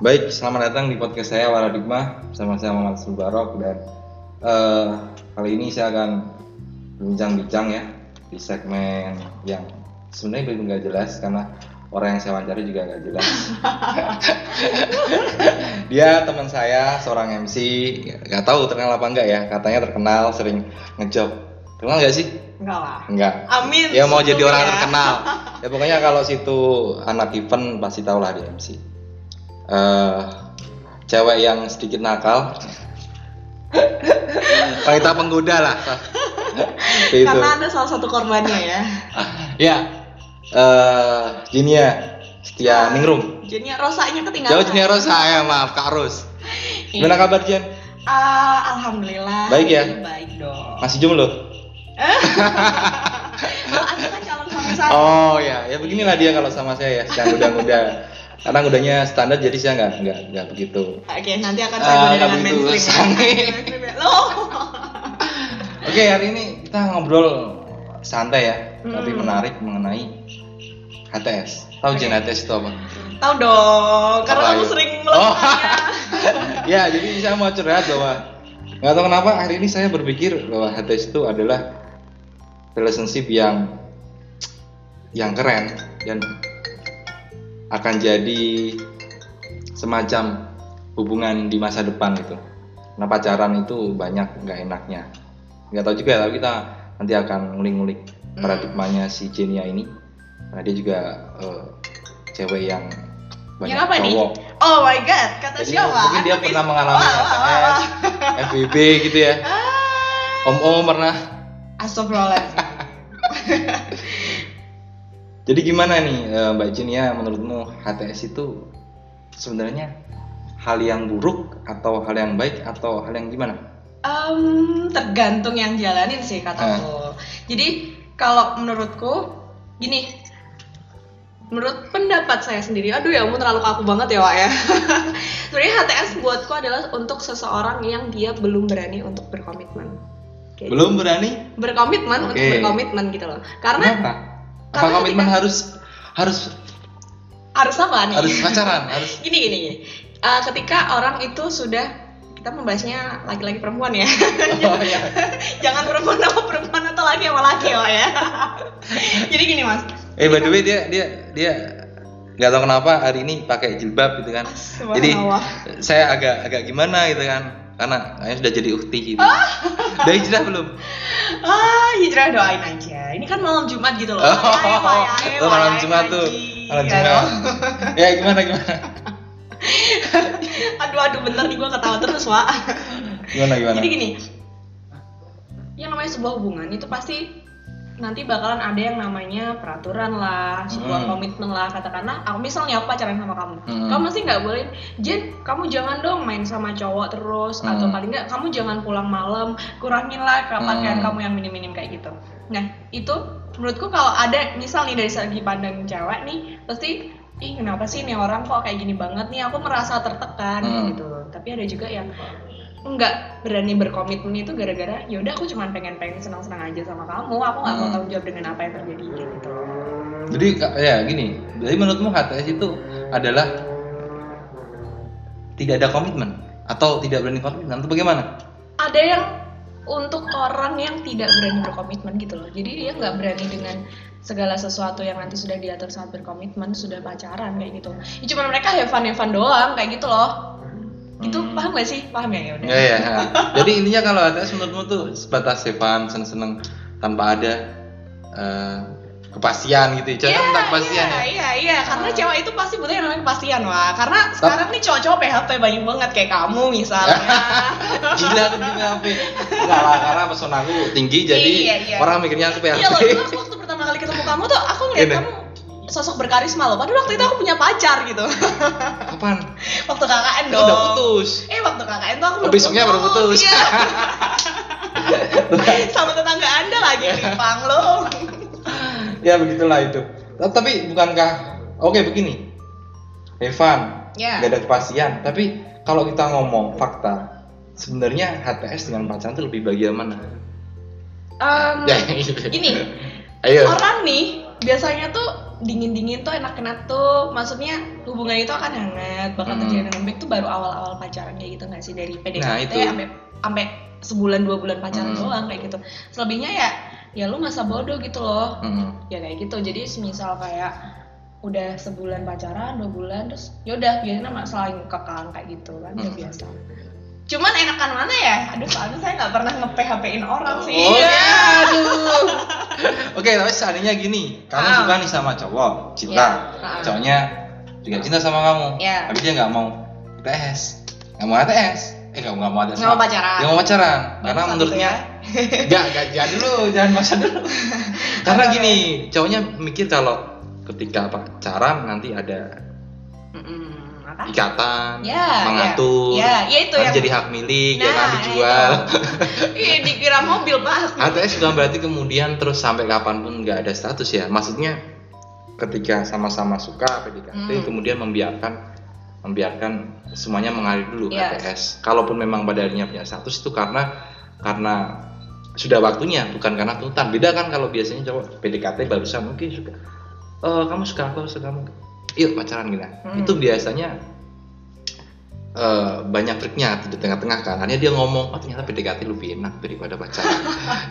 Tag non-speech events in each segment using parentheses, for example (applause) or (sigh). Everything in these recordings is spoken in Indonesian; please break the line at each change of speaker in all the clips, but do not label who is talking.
Baik, selamat datang di podcast saya Waradigma bersama saya Muhammad Subarok dan eh, kali ini saya akan berbincang-bincang ya di segmen yang sebenarnya belum nggak jelas karena orang yang saya wawancari juga nggak jelas. Dia teman saya seorang MC, nggak tahu terkenal apa enggak ya, katanya terkenal sering ngejob. Terkenal nggak sih?
Enggak lah.
Enggak.
Amin.
Ya mau jadi
sebelumnya.
orang (laughs) terkenal. Ya pokoknya kalau situ anak event pasti tau lah di MC. eh cewek yang sedikit nakal. (laughs) Wanita penggoda lah. Kayak gitu. itu.
Karena ada salah satu korbannya ya.
Ya. eh Jinia Setia Iya, Ningrum.
Jadinya rosanya
Ah.
ketinggalan. Iya.
Jauh Jinia Iya. Rosa ya maaf Kak Ros. Gimana kabar Jian?
Ah, alhamdulillah.
Baik ya?
Baik dong.
Masih jomblo?
Kalau aku kan calon suami saya.
Oh ya, ya beginilah dia kalau sama saya ya, sedang muda-muda. Karena mudanya standar jadi saya nggak nggak nggak begitu.
Oke, nanti akan
Ah,
saya goda dengan
tapi itu
mainstream. ya.
sange.
Mainstream ya. Loh.
Oke, hari ini kita ngobrol santai ya, tapi
Hmm.
menarik mengenai HTS. Tahu Jen HTS itu apa?
Tahu dong, karena
Apa
kamu
itu?
sering
Oh.
melakukannya.
(laughs) ya, jadi saya mau curhat bahwa nggak tahu kenapa akhir ini saya berpikir bahwa HTS itu adalah relationship yang yang keren dan akan jadi semacam hubungan di masa depan gitu. Nah pacaran itu banyak nggak enaknya. Nggak tahu juga tapi kita nanti akan ngulik-ngulik
Hmm.
paradigmanya si Jenia ini. Karena dia juga eh, cewek yang banyak
Yang apa nih?
cowok.
Oh my god, kata
Jadi
siapa?
mungkin dia
Aktivis.
pernah mengalami
Wah, wah, wah,
HTS,
wah.
(laughs) FBB gitu ya.
Ah.
Om Om pernah.
Astagfirullahaladzim.
Jadi gimana nih eh, Mbak Jin ya menurutmu HTS itu sebenarnya hal yang buruk atau hal yang baik atau hal yang gimana?
Em, tergantung yang jalanin sih
Ah.
kataku. Jadi kalau menurutku gini, menurut pendapat saya sendiri, aduh ya ampun terlalu kaku banget ya Wak ya. (laughs) Sebenarnya HTS buatku adalah untuk seseorang yang dia belum berani untuk berkomitmen. Kayak
Belum berani?
Berkomitmen untuk
Oke.
berkomitmen gitu loh. Karena
Kenapa? Apa
karena
komitmen
ketika-
harus harus
harus apa nih?
harus pacaran harus
gini gini gini. Eh, ketika orang itu sudah kita membahasnya laki-laki perempuan ya.
oh ya
(laughs) jangan perempuan sama perempuan atau laki sama laki oh
(laughs)
ya jadi gini mas
eh by the way dia dia dia nggak tahu kenapa hari ini pakai jilbab gitu kan jadi
Subhanallah.
saya agak agak gimana gitu kan karena kayaknya sudah jadi ukti gitu udah hijrah belum
ah hijrah doain aja ini kan malam jumat gitu loh Ayo,
(laughs)
ayo, ayo,
Tuh, Oh, malam
ayo,
Jumat tuh.
ngaji.
Malam
Ya
Jumat.
dong.
Ya gimana gimana?
aduh aduh bener nih gue ketawa terus wak
Gimana gimana?
jadi gini yang namanya sebuah hubungan itu pasti nanti bakalan ada yang namanya peraturan lah
Hmm.
sebuah komitmen lah katakanlah aku misalnya aku pacaran sama kamu
Hmm.
kamu pasti nggak boleh Jen kamu jangan dong main sama cowok terus atau
Hmm.
paling nggak kamu jangan pulang malam kurangin lah ke pakaian
Hmm.
kamu yang minim-minim kayak gitu nah itu menurutku kalau ada misal nih dari segi pandang cewek nih pasti ih kenapa sih nih orang kok kayak gini banget nih aku merasa tertekan
Hmm.
gitu tapi ada juga yang nggak berani berkomitmen itu gara-gara ya udah aku cuma pengen pengen senang-senang aja sama kamu aku nggak mau
Hmm.
tanggung jawab dengan apa yang terjadi gitu
Jadi ka- ya gini. Jadi menurutmu HTS itu adalah tidak ada komitmen atau tidak berani komitmen itu bagaimana?
ada yang untuk orang yang tidak berani berkomitmen gitu loh jadi dia nggak berani dengan segala sesuatu yang nanti sudah diatur saat berkomitmen sudah pacaran kayak gitu ya cuma mereka have fun have fun doang kayak gitu loh gitu
Hmm.
paham gak sih paham ya ya udah
Ya ya. Jadi intinya kalau HTS menurutmu tuh sebatas sepan seneng-seneng tanpa ada eh, kepastian gitu. Jangan tentang kepastian
iya,
ya.
iya, iya, karena cewek itu pasti butuh yang namanya kepastian, wah. Karena sekarang nih cowok-cowok PHP banyak banget kayak kamu misalnya.
(laughs) Gila aku di PHP. Enggak lah karena personaku tinggi jadi
Iya, iya.
orang mikirnya aku PHP.
Iya loh, dulu aku waktu pertama kali ketemu kamu tuh aku ngeliat
Gini.
kamu sosok berkarisma loh. Padahal waktu itu aku punya pacar gitu. (laughs)
Kapan?
waktu KKN
Kan
dong.
udah putus.
Eh waktu KKN tuh aku
Oh, besoknya baru putus.
Iya. Sama tetangga Anda lagi
Iya.
Lipang loh.
ya begitulah itu Nah, tapi bukankah oke begini Evan
Ya.
nggak ada kepastian tapi kalau kita ngomong fakta sebenarnya HTS dengan pacaran itu lebih bagian mana
Em,
Ya, iya. gitu.
gini,
ayo
orang nih biasanya tuh dingin-dingin tuh enak-enak tuh maksudnya hubungan itu akan hangat bakal
Hmm.
terjalin dengan baik tuh baru awal-awal pacaran kayak gitu nggak sih dari PDKT
Nah, itu.
sampai sampai sebulan dua bulan
Hmm.
pacaran doang kayak gitu selebihnya ya ya lu masa bodoh gitu loh
Mm-mm.
ya kayak gitu jadi semisal kayak udah sebulan pacaran dua bulan terus ya yaudah biasanya masalah yang kekang kayak gitu kan udah
Hmm.
biasa cuman enakan mana ya aduh soalnya saya nggak pernah nge php in orang sih
Oh, ya, aduh. Oke, tapi seandainya gini, kamu
Ah.
suka nih sama cowok, cinta.
Ya, ah.
Cowoknya juga cinta sama kamu,
Ya.
tapi dia nggak mau ATS, nggak mau ATS, eh nggak nggak mau ATS,
Nggak mau pacaran.
nggak mau pacaran, karena
Bangsat
menurut
gitu ya.
Enggak, enggak jangan dulu, jangan masa
(laughs)
dulu. Karena
Apa?
gini,
ya.
cowoknya mikir kalau ketika pacaran nanti ada
Mm-mm, apa?
ikatan,
Ya,
mengatur,
ya. Ya, ya itu
nanti
yang-
jadi hak milik, ya
Nah,
kan dijual. (laughs)
itu. Ih, dikira mobil pak
ATS bukan berarti kemudian terus sampai kapanpun nggak ada status ya. Maksudnya ketika sama-sama suka PDKT
Hmm.
kemudian membiarkan membiarkan semuanya mengalir dulu ya?
Iya.
ATS. Kalaupun memang pada akhirnya punya status itu karena karena sudah waktunya bukan karena tuntutan. Beda kan kalau biasanya cowok PDKT barusan mungkin suka "Eh, kamu suka aku, aku suka kamu. Yuk pacaran gitu.
Hmm.
Itu biasanya eh, banyak triknya di tengah-tengah kan akhirnya dia ngomong oh ternyata PDKT lebih enak daripada
(laughs)
pacaran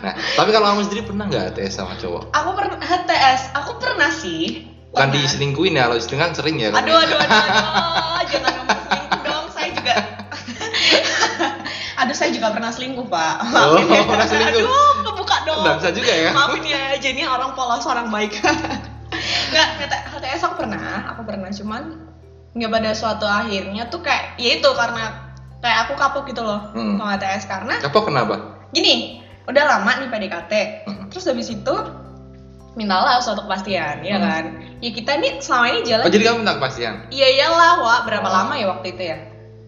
nah tapi kalau kamu sendiri pernah nggak ATS sama cowok
aku pernah HTS aku pernah sih
bukan
Pernah.
diselingkuhin ya kalau diselingkuhin kan sering ya
Aduh, aduh, aduh, aduh, jangan ngomong selingkuh dong, saya juga. aduh, saya juga pernah selingkuh, Pak.
Oh,
Maafin ya.
pernah selingkuh.
Aduh, kebuka dong.
bangsa juga ya
Maafin ya, jadinya orang polos, orang baik. Nggak, HT- HTS aku pernah, aku pernah, cuman nggak pada suatu akhirnya tuh kayak, ya itu karena kayak aku kapok gitu loh
Hmm.
sama HTS karena
kapok kenapa
gini udah lama nih PDKT
Mm.
terus habis itu mintalah suatu kepastian ya
Mm.
kan ya kita nih selama ini jalan
oh jadi kamu minta kepastian
Iya iyalah Wak, berapa
Oh.
lama ya waktu itu ya?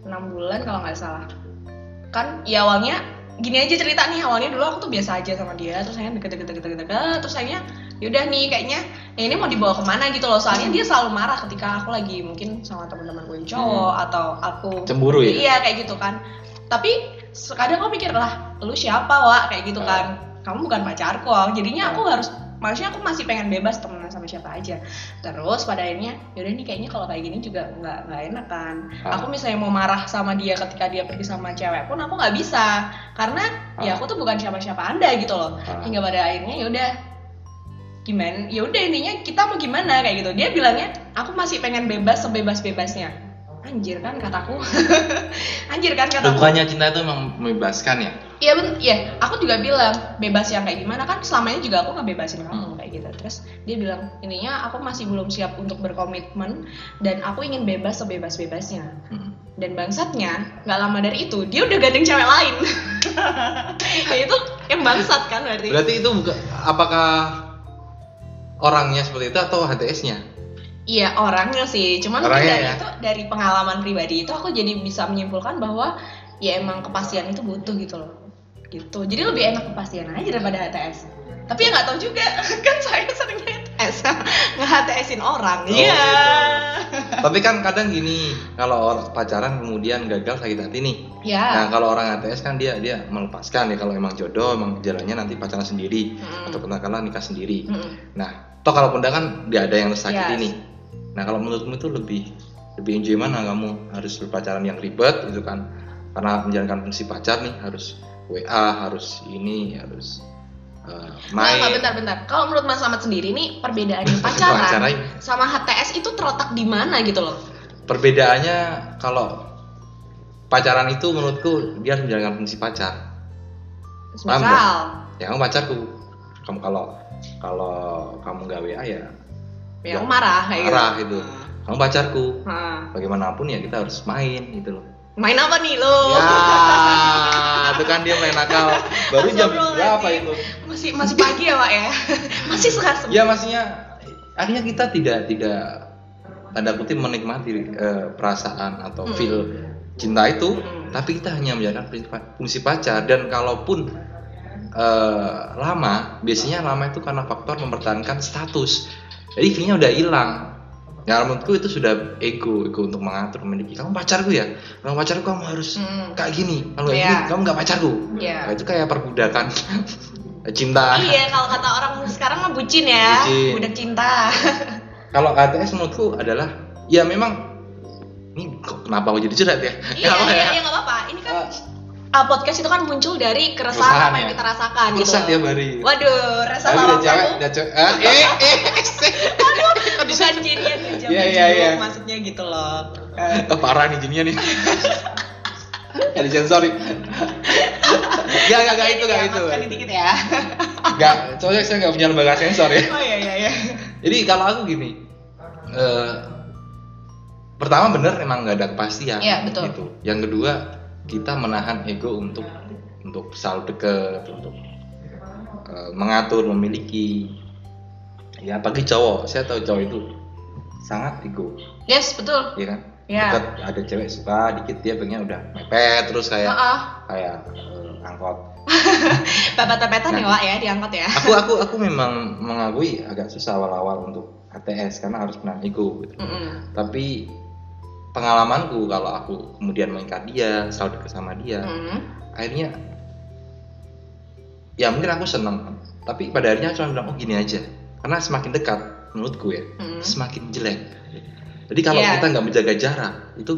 6 bulan kalau nggak salah. Kan ya awalnya gini aja cerita nih awalnya dulu aku tuh biasa aja sama dia terus saya deket deket deket deket deket terus akhirnya yaudah nih kayaknya ya ini mau dibawa kemana gitu loh soalnya dia selalu marah ketika aku lagi mungkin sama teman-teman gue yang cowok atau aku
Cemburu ya?
iya kayak gitu kan tapi kadang aku mikir lah lu siapa Wak? kayak gitu
Oh.
kan kamu bukan pacarku Wak. jadinya aku harus maksudnya aku masih pengen bebas temenan sama siapa aja terus pada akhirnya yaudah nih kayaknya kalau kayak gini juga nggak nggak enak kan
Ah.
aku misalnya mau marah sama dia ketika dia pergi sama cewek pun aku nggak bisa karena ya
Ah.
aku tuh bukan siapa-siapa anda gitu loh
Ah.
hingga pada akhirnya yaudah gimana yaudah intinya kita mau gimana kayak gitu dia bilangnya aku masih pengen bebas sebebas bebasnya anjir kan kataku (laughs) anjir kan
Loh,
kataku
bukannya cinta itu memang membebaskan ya
Iya ben, iya. Aku juga bilang bebas yang kayak gimana kan selama ini juga aku ngebebasin
Hmm.
kamu kayak gitu. Terus dia bilang ininya aku masih belum siap untuk berkomitmen dan aku ingin bebas sebebas bebasnya.
Hmm.
Dan bangsatnya nggak lama dari itu dia udah gandeng cewek
(laughs)
lain. ya itu yang bangsat kan berarti.
berarti itu buka, apakah orangnya seperti itu atau HTS-nya
Iya orangnya sih, cuman mungkin
Orangnya
dari
ya?
itu dari pengalaman pribadi itu aku jadi bisa menyimpulkan bahwa ya emang kepastian itu butuh gitu loh, gitu. Jadi lebih enak kepastian aja daripada HTS. Tapi ya nggak tahu juga (laughs) kan saya sering (laughs) HTS nggak HTSin orang.
Oh,
Iya.
tapi kan kadang gini kalau orang pacaran kemudian gagal sakit hati nih
Iya.
Nah kalau orang ATS kan dia dia melepaskan ya kalau emang jodoh emang jalannya nanti pacaran sendiri
Mm-mm.
atau katakanlah nikah sendiri.
Mm-mm.
Nah toh kalau benda kan dia ada yang tersakiti
Yes.
nih. Nah kalau menurutmu itu lebih lebih enjoy mana kamu harus berpacaran yang ribet gitu kan karena menjalankan fungsi pacar nih harus WA harus ini harus eh,
Nah,
main.
nggak, bentar-bentar. Kalau menurut Mas Ahmad sendiri nih
(laughs)
perbedaannya
Pacaran.
pacaran sama HTS itu terletak di mana gitu loh?
Perbedaannya kalau pacaran itu menurutku dia harus menjalankan fungsi pacar. Paham nggak?
Misal,
ya kamu pacarku kamu kalau kalau kamu nggak WA ya
yang marah kayak gitu.
arah gitu kamu pacarku
Hah.
bagaimanapun ya kita harus main gitu loh
Main apa nih lo? (laughs)
ya itu kan dia main nakal baru
(laughs) Masih
jam
obrol
berapa
lagi.
itu
Masih masih pagi ya, Pak ya. (laughs) masih sehat
ya maksudnya akhirnya kita tidak tidak tanda kutip menikmati eh, perasaan atau
Mm.
feel cinta itu
Mm.
tapi kita hanya menjalankan prinsip- fungsi pacar dan kalaupun eh, lama biasanya lama itu karena faktor mempertahankan status jadi feelnya udah hilang Nah, menurutku itu sudah ego, ego untuk mengatur, memiliki. Kamu pacarku ya, kamu pacarku kamu harus
Mm.
kayak gini. Kalau kayak
Iya.
gini, kamu nggak pacarku.
Iya.
Nah, itu kayak
(laughs)
perbudakan cinta.
Iya, kalau kata orang sekarang mah bucin ya.
Bucin. (laughs)
Budak cinta.
kalau HTS menurutku adalah ya memang ini kok kenapa aku jadi jerat ya?
Iya,
Kenapa
iya,
ya?
iya, nggak apa-apa. Ini kan
Ah.
ah, podcast itu kan muncul dari
Keresahan
keresahan apa yang
ya?
kita rasakan gitu.
Resah tiap hari.
Waduh, resah
Tapi
sama
udah cewek,
kamu.
udah cewek. Ah, eh, eh, eh,
Bukan ya, jadian ngejam
Iya, iya, iya.
maksudnya gitu loh. Eh,
eh. Parah nih jadinya
(laughs)
nih. Ada sensor nih. Gak, gak, gak itu, gak itu.
Maafkan dikit ya.
Gak, soalnya saya gak punya lembaga sensor ya.
Oh iya iya iya.
Jadi kalau aku gini, eh, pertama bener emang nggak ada kepastian.
Iya, betul.
gitu. Yang kedua kita menahan ego untuk untuk selalu deket, untuk eh, mengatur, memiliki. Ya apalagi cowok, saya tahu cowok itu sangat ego,
Yes, betul.
ya kan?
Iya.
Deket, ada cewek suka dikit dia pengen udah mepet terus
Heeh.
kayak kayak eh, angkot
Bapak-bapak
Nah.
nih, Wak ya, diangkut ya.
aku aku aku memang mengakui agak susah awal-awal untuk HTS karena harus menahan ego gitu.
Mm-mm.
tapi pengalamanku kalau aku kemudian mengikat dia selalu dekat sama dia
Mm.
akhirnya ya mungkin aku seneng tapi pada akhirnya cuma bilang oh gini aja karena semakin dekat menurutku ya
Mm.
semakin jelek jadi kalau
Iya.
kita nggak menjaga jarak itu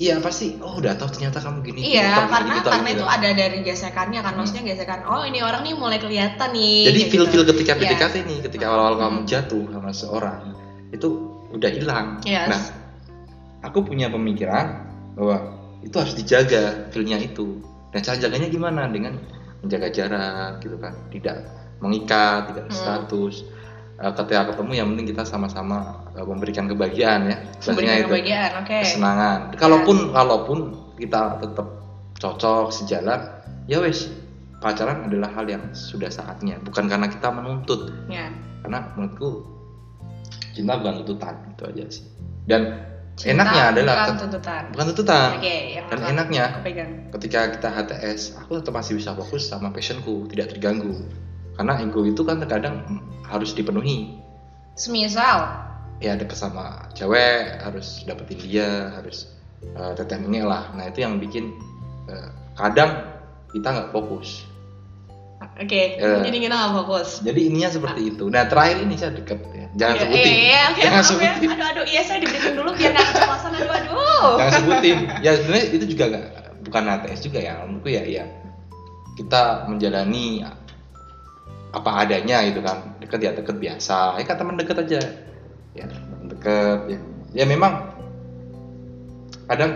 iya pasti oh udah tahu ternyata kamu gini
Iya,
kotor,
karena
gini, kotor,
karena
gitu.
itu ada dari gesekannya kan, maksudnya gesekan. Oh ini orang nih mulai kelihatan nih.
Jadi
kayak
feel-feel
gitu.
ketika
Yes.
PDKT ini, ketika awal-awal kamu
Hmm.
jatuh sama seorang, itu udah hilang.
Yes.
Nah, aku punya pemikiran bahwa itu harus dijaga feel-nya itu. Dan cara jaganya gimana? Dengan menjaga jarak gitu kan, tidak mengikat, tidak ada
Hmm.
status. Eh, ketika ketemu yang penting kita sama-sama eh, memberikan kebahagiaan ya. Biasanya
Sumbernya
itu
kebahagiaan, oke.
kesenangan. Kalaupun kalaupun kita tetap cocok sejalan, ya wes pacaran adalah hal yang sudah saatnya. Bukan karena kita menuntut,
Ya.
karena menurutku cinta bukan tuntutan itu aja sih. Dan
Cinta
enaknya adalah
bukan
ket-
tuntutan.
bukan tuntutan.
Oke, yang
Dan ya.
pertama
enaknya
aku pegang.
ketika kita HTS, aku tetap masih bisa fokus sama passionku, tidak terganggu. Karena ego itu kan terkadang mm, harus dipenuhi.
Semisal,
ya deket sama cewek harus dapetin dia harus uh, teteh-neneh lah nah itu yang bikin uh, kadang kita nggak fokus
oke,
Eh.
jadi kita nggak fokus.
jadi ininya seperti itu nah terakhir ini saya deket ya jangan
Ya,
sebutin
Iya, iya, oke,
jangan
maaf ya.
sebutin
Aduh, aduh, iya saya diberikan dulu biar nggak keceplosan. Aduh, aduh.
jangan sebutin ya sebenarnya itu juga nggak bukan ATS juga ya menurutku ya ya kita menjalani apa adanya gitu kan deket ya deket biasa ya kan teman deket aja ya teman deket ya. ya memang kadang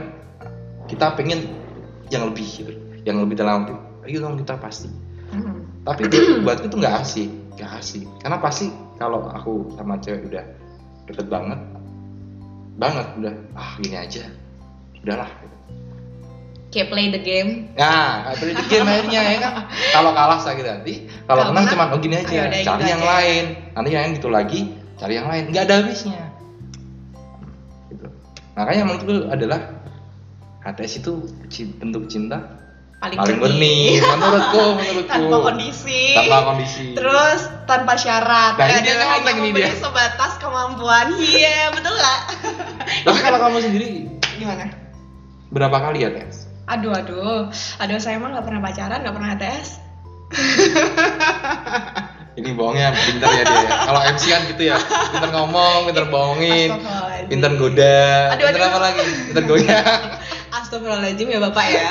kita pengen yang lebih gitu yang lebih dalam arti, ayo dong kita pasti
Hmm.
tapi buat- buatku tuh nggak asik nggak asik karena pasti kalau aku sama cewek udah deket banget banget udah ah gini aja udahlah
Kayak play the game.
nah kayak play the
(laughs)
game akhirnya ya kan kalau kalah sakit hati kalau
Kalau
menang
menang,
cuman oh gini
ayo
aja
udah,
cari
gitu
yang
aja.
lain nanti yang lain gitu lagi cari yang lain nggak ada habisnya gitu. makanya menurutku adalah HTS itu ci- bentuk cinta
Paling,
paling
jernih.
murni menurutku menurutku
(laughs) Tanpa kondisi.
tanpa kondisi
Terus tanpa syarat.
Nah, ini
Kadang
dia yang
hanya
penting ini
memberi
dia.
sebatas kemampuan. Iya, betul nggak?
Tapi kalau kamu sendiri
Gimana?
berapa kali ya tes?
Aduh, aduh, aduh saya emang nggak pernah pacaran, nggak pernah HTS.
Ini bohongnya pinter ya dia. Kalau MC kan gitu ya, pinter ngomong, pinter bohongin,
Astagfirullahaladzim.
pinter goda,
Aduh,
pinter
aduh.
apa lagi? Pinter goyang.
Astagfirullahaladzim ya bapak (laughs) ya.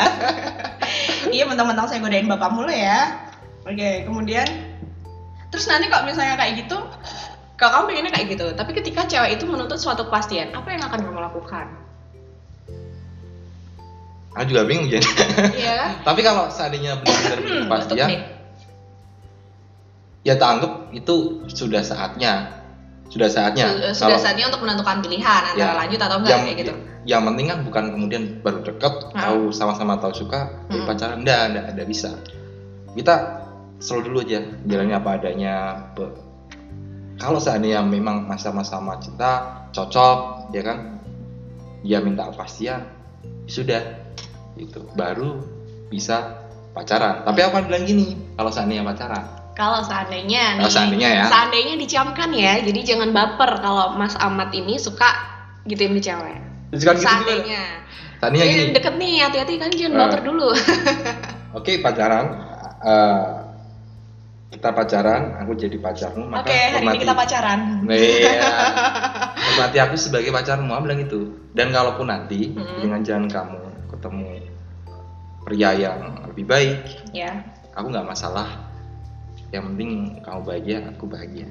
iya mentang-mentang saya godain bapak mulu ya. Oke kemudian terus nanti kalau misalnya kayak gitu, kalau kamu pengennya kayak gitu, tapi ketika cewek itu menuntut suatu kepastian, apa yang akan kamu
(laughs)
lakukan?
Aku juga bingung ya.
Iya kan?
Tapi kalau seandainya benar-benar
Hmm, tutup
kepastian,
nih.
ya tanggap itu sudah saatnya, sudah saatnya.
Su- eh, Sudah
Ya, Kalau-
saatnya untuk menentukan pilihan antara
Ya,
lanjut atau enggak
yang,
kayak gitu.
Yang penting kan bukan kemudian baru deket,
Ah.
tahu sama-sama tahu suka, jadi
Hmm.
pacaran enggak, enggak, enggak bisa. Kita selalu dulu aja, jalannya apa adanya. Be- Kalau seandainya memang sama-sama cinta, cocok, ya kan? Dia minta kepastian, sudah itu baru bisa pacaran. Tapi aku kan bilang gini, kalau seandainya pacaran,
Kalau seandainya
Kalau
nih,
seandainya ya.
seandainya dicamkan ya, jadi jangan baper kalau Mas Ahmad ini suka gituin ke cewek.
Terus kan gitu gimana?
seandainya.
seandainya
Ini
gini,
deket nih,
Nah,
hati-hati kan jangan
Eh.
baper dulu.
oke pacaran, eh, kita pacaran, aku jadi pacarmu, maka
(laughs) Oke, hari ini
hormati.
kita pacaran. (laughs)
Iya. Hormati aku sebagai pacarmu, aku bilang gitu. Dan kalaupun nanti
Mm-mm.
dengan jalan kamu ketemu pria yang lebih baik,
Ya.
aku nggak masalah. Yang penting kamu bahagia, aku bahagia.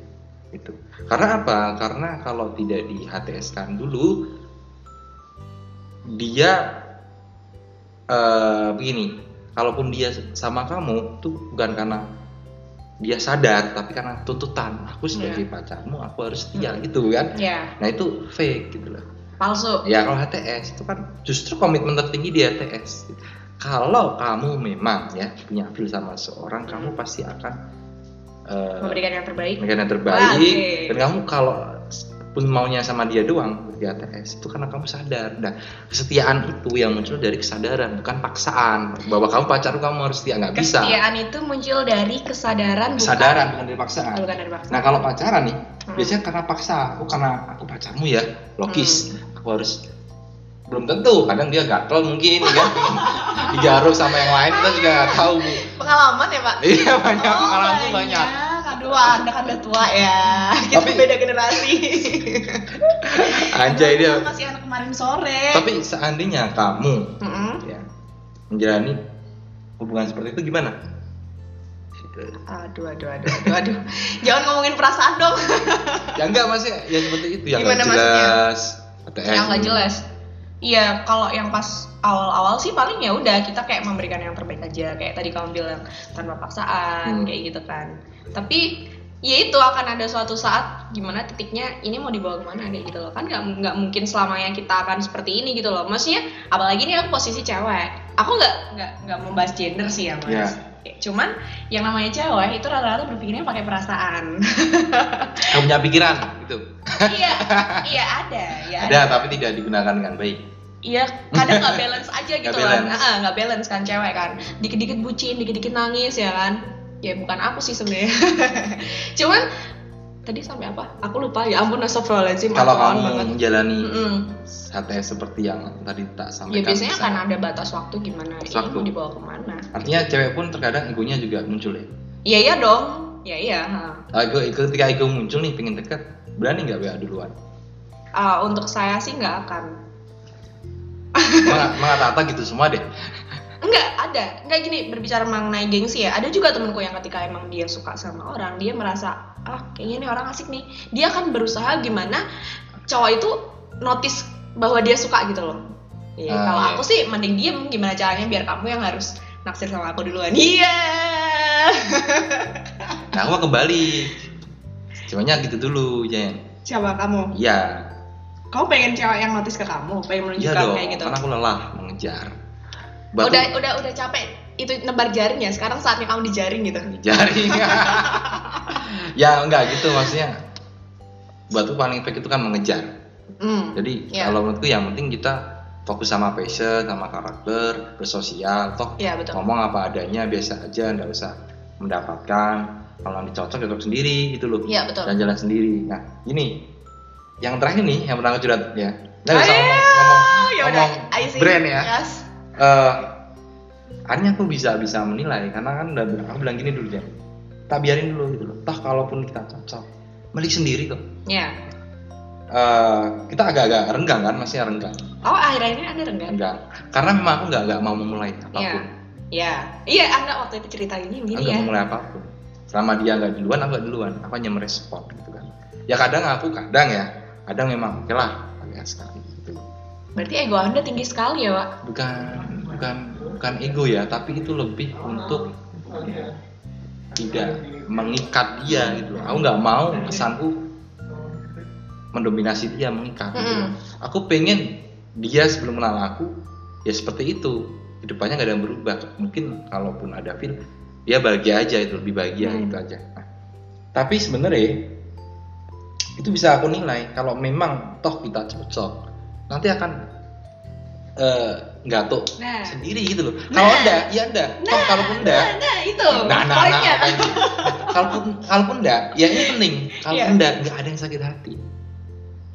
Gitu. Karena apa? Karena kalau tidak di HTS kan dulu dia eh begini, kalaupun dia sama kamu tuh bukan karena dia sadar, tapi karena tuntutan. Aku sebagai pacarmu, aku harus setia gitu kan.
Ya.
Nah itu fake gitu loh.
Palsu.
Ya kalau HTS itu kan justru komitmen tertinggi di HTS. Kalau kamu memang ya punya feel sama seorang, kamu
Hmm.
pasti akan eh,
Memberikan yang terbaik.
memberikan yang terbaik.
Wah, oke.
Dan kamu kalau pun maunya sama dia doang di HTS itu karena kamu sadar. Nah kesetiaan itu yang muncul dari kesadaran, bukan paksaan. Bahwa kamu pacar kamu harus setia nggak bisa.
Kesetiaan itu muncul dari kesadaran. bukan-
Kesadaran bukan dari paksaan.
Bukan dari paksa.
Nah kalau pacaran nih,
Hmm.
biasanya karena paksa, aku karena aku pacarmu ya, logis,
Hmm.
aku harus belum tentu, kadang dia gatel mungkin,
(laughs)
kan digaruk sama yang lain kita juga nggak tahu bu.
Pengalaman ya pak?
Iya banyak pengalaman
Oh,
banyak.
Aduh, anda kan udah tua ya. Kita
Tapi-
beda generasi.
Anjay dia.
Aku Masih anak kemarin sore.
Tapi seandainya kamu
Mm-mm.
ya menjalani hubungan seperti itu gimana?
Aduh, aduh, aduh, aduh, aduh. (laughs) Jangan ngomongin perasaan dong.
Ya enggak masih ya seperti itu yang
Gimana
nggak jelas. ATM.
yang nggak jelas. Iya, kalau yang pas awal-awal sih paling ya udah kita kayak memberikan yang terbaik aja kayak tadi kamu bilang tanpa
Hmm.
paksaan kayak gitu kan. Tapi ya itu akan ada suatu saat gimana titiknya ini mau dibawa kemana kayak gitu loh kan nggak nggak mungkin selamanya kita akan seperti ini gitu loh maksudnya apalagi ini aku posisi cewek aku nggak nggak nggak membahas gender sih ya mas
Iya.
Ya, cuman yang namanya cewek itu rata-rata berpikirnya pakai
(laughs)
perasaan
Kamu punya pikiran gitu.
iya iya ada ya
Ada tapi tidak digunakan dengan baik.
Iya, kadang nggak balance aja
(laughs) Nggak
gitu kan.
balance.
Ah, nggak balance kan cewek kan. Dikit-dikit bucin, dikit-dikit nangis ya kan. Ya bukan aku sih sebenarnya. (laughs) Cuman tadi sampai apa? Aku lupa. Ya ampun, astagfirullahaladzim.
Kalau
aku on banget.
kamu menjalani
Mm-mm.
HTS seperti yang tadi tak
Ya
sampaikan.
biasanya
bisa.
kan ada batas waktu gimana.
Batas
Ini mau
waktu.
dibawa kemana?
Artinya cewek pun terkadang egonya juga muncul ya.
Iya iya dong. Ya iya. ha.
Ah, Ego, ego- ketika ego muncul nih pengen dekat, berani nggak WA duluan?
Ah, untuk saya sih nggak akan. (laughs)
Mengata-ata gitu semua deh.
Enggak, ada. Enggak gini, berbicara mengenai gengsi ya. Ada juga temenku yang ketika emang dia suka sama orang, dia merasa, ah kayaknya ini orang asik nih. Dia akan berusaha gimana cowok itu notice bahwa dia suka gitu loh. Iya,
Ah,
kalau
iya.
aku sih mending diem gimana caranya biar kamu yang harus naksir sama aku duluan. (laughs) Iya.
Nah, aku kembali. Cumannya gitu dulu, Jen.
Siapa kamu?
Iya,
Kamu pengen cewek yang notice ke kamu, pengen
iya
menunjukkan
dong.
kayak gitu.
Karena aku lelah mengejar.
Udah udah udah capek itu nebar jaringnya. Sekarang saatnya kamu dijaring gitu.
jaring. (laughs) ya enggak gitu maksudnya. Batu paling efek itu kan mengejar.
Hmm.
Jadi
Iya.
kalau menurutku yang penting kita fokus sama passion, sama karakter, bersosial, toh
Iya, betul.
ngomong apa adanya, biasa aja, nggak usah mendapatkan. Kalau nanti cocok, cocok sendiri gitu loh.
Iya, betul.
Dan jalan sendiri. Nah, ini yang terakhir nih yang pernah aku curhat ya. Nggak bisa
Ayo,
ngomong, ngomong,
ya udah,
ngomong
I see.
brand ya.
Yes.
Eh, akhirnya aku bisa bisa menilai karena kan udah bilang- aku bilang gini dulu ya. Tak biarin dulu gitu loh. Toh kalaupun kita cocok, milik sendiri kok.
Ya.
Eh, kita agak-agak renggang kan, masih renggang.
Oh, akhir-akhir ini ada renggan.
enggak karena memang aku enggak enggak mau memulai
Iya.
apapun
Iya. Iya, Anda waktu itu ceritainnya
aku
gini
enggak
ya.
mau memulai apapun selama dia enggak duluan aku enggak duluan aku hanya merespon gitu kan ya kadang aku kadang ya kadang memang oke lah agak sekali gitu
Berarti ego Anda tinggi sekali ya, Pak.
bukan bukan bukan ego ya tapi itu lebih untuk tidak mengikat dia gitu loh. aku nggak mau kesanku mendominasi dia mengikat gitu loh.
Mm-mm.
aku pengen dia sebelum kenal aku ya seperti itu kedepannya nggak ada yang berubah mungkin kalaupun ada feel dia bahagia aja itu lebih bahagia
Hmm.
itu aja Nah, tapi sebenarnya itu bisa aku nilai kalau memang toh kita cocok nanti akan eh, nggak tuh
Nah.
sendiri gitu loh
Nah.
kalau enggak ya enggak toh kalaupun enggak
Nah, nah, itu.
nah nah nah
Poinnya. kan?
makanya. kalaupun kalaupun enggak ya ini penting kalaupun
Iya.
enggak enggak ada yang sakit hati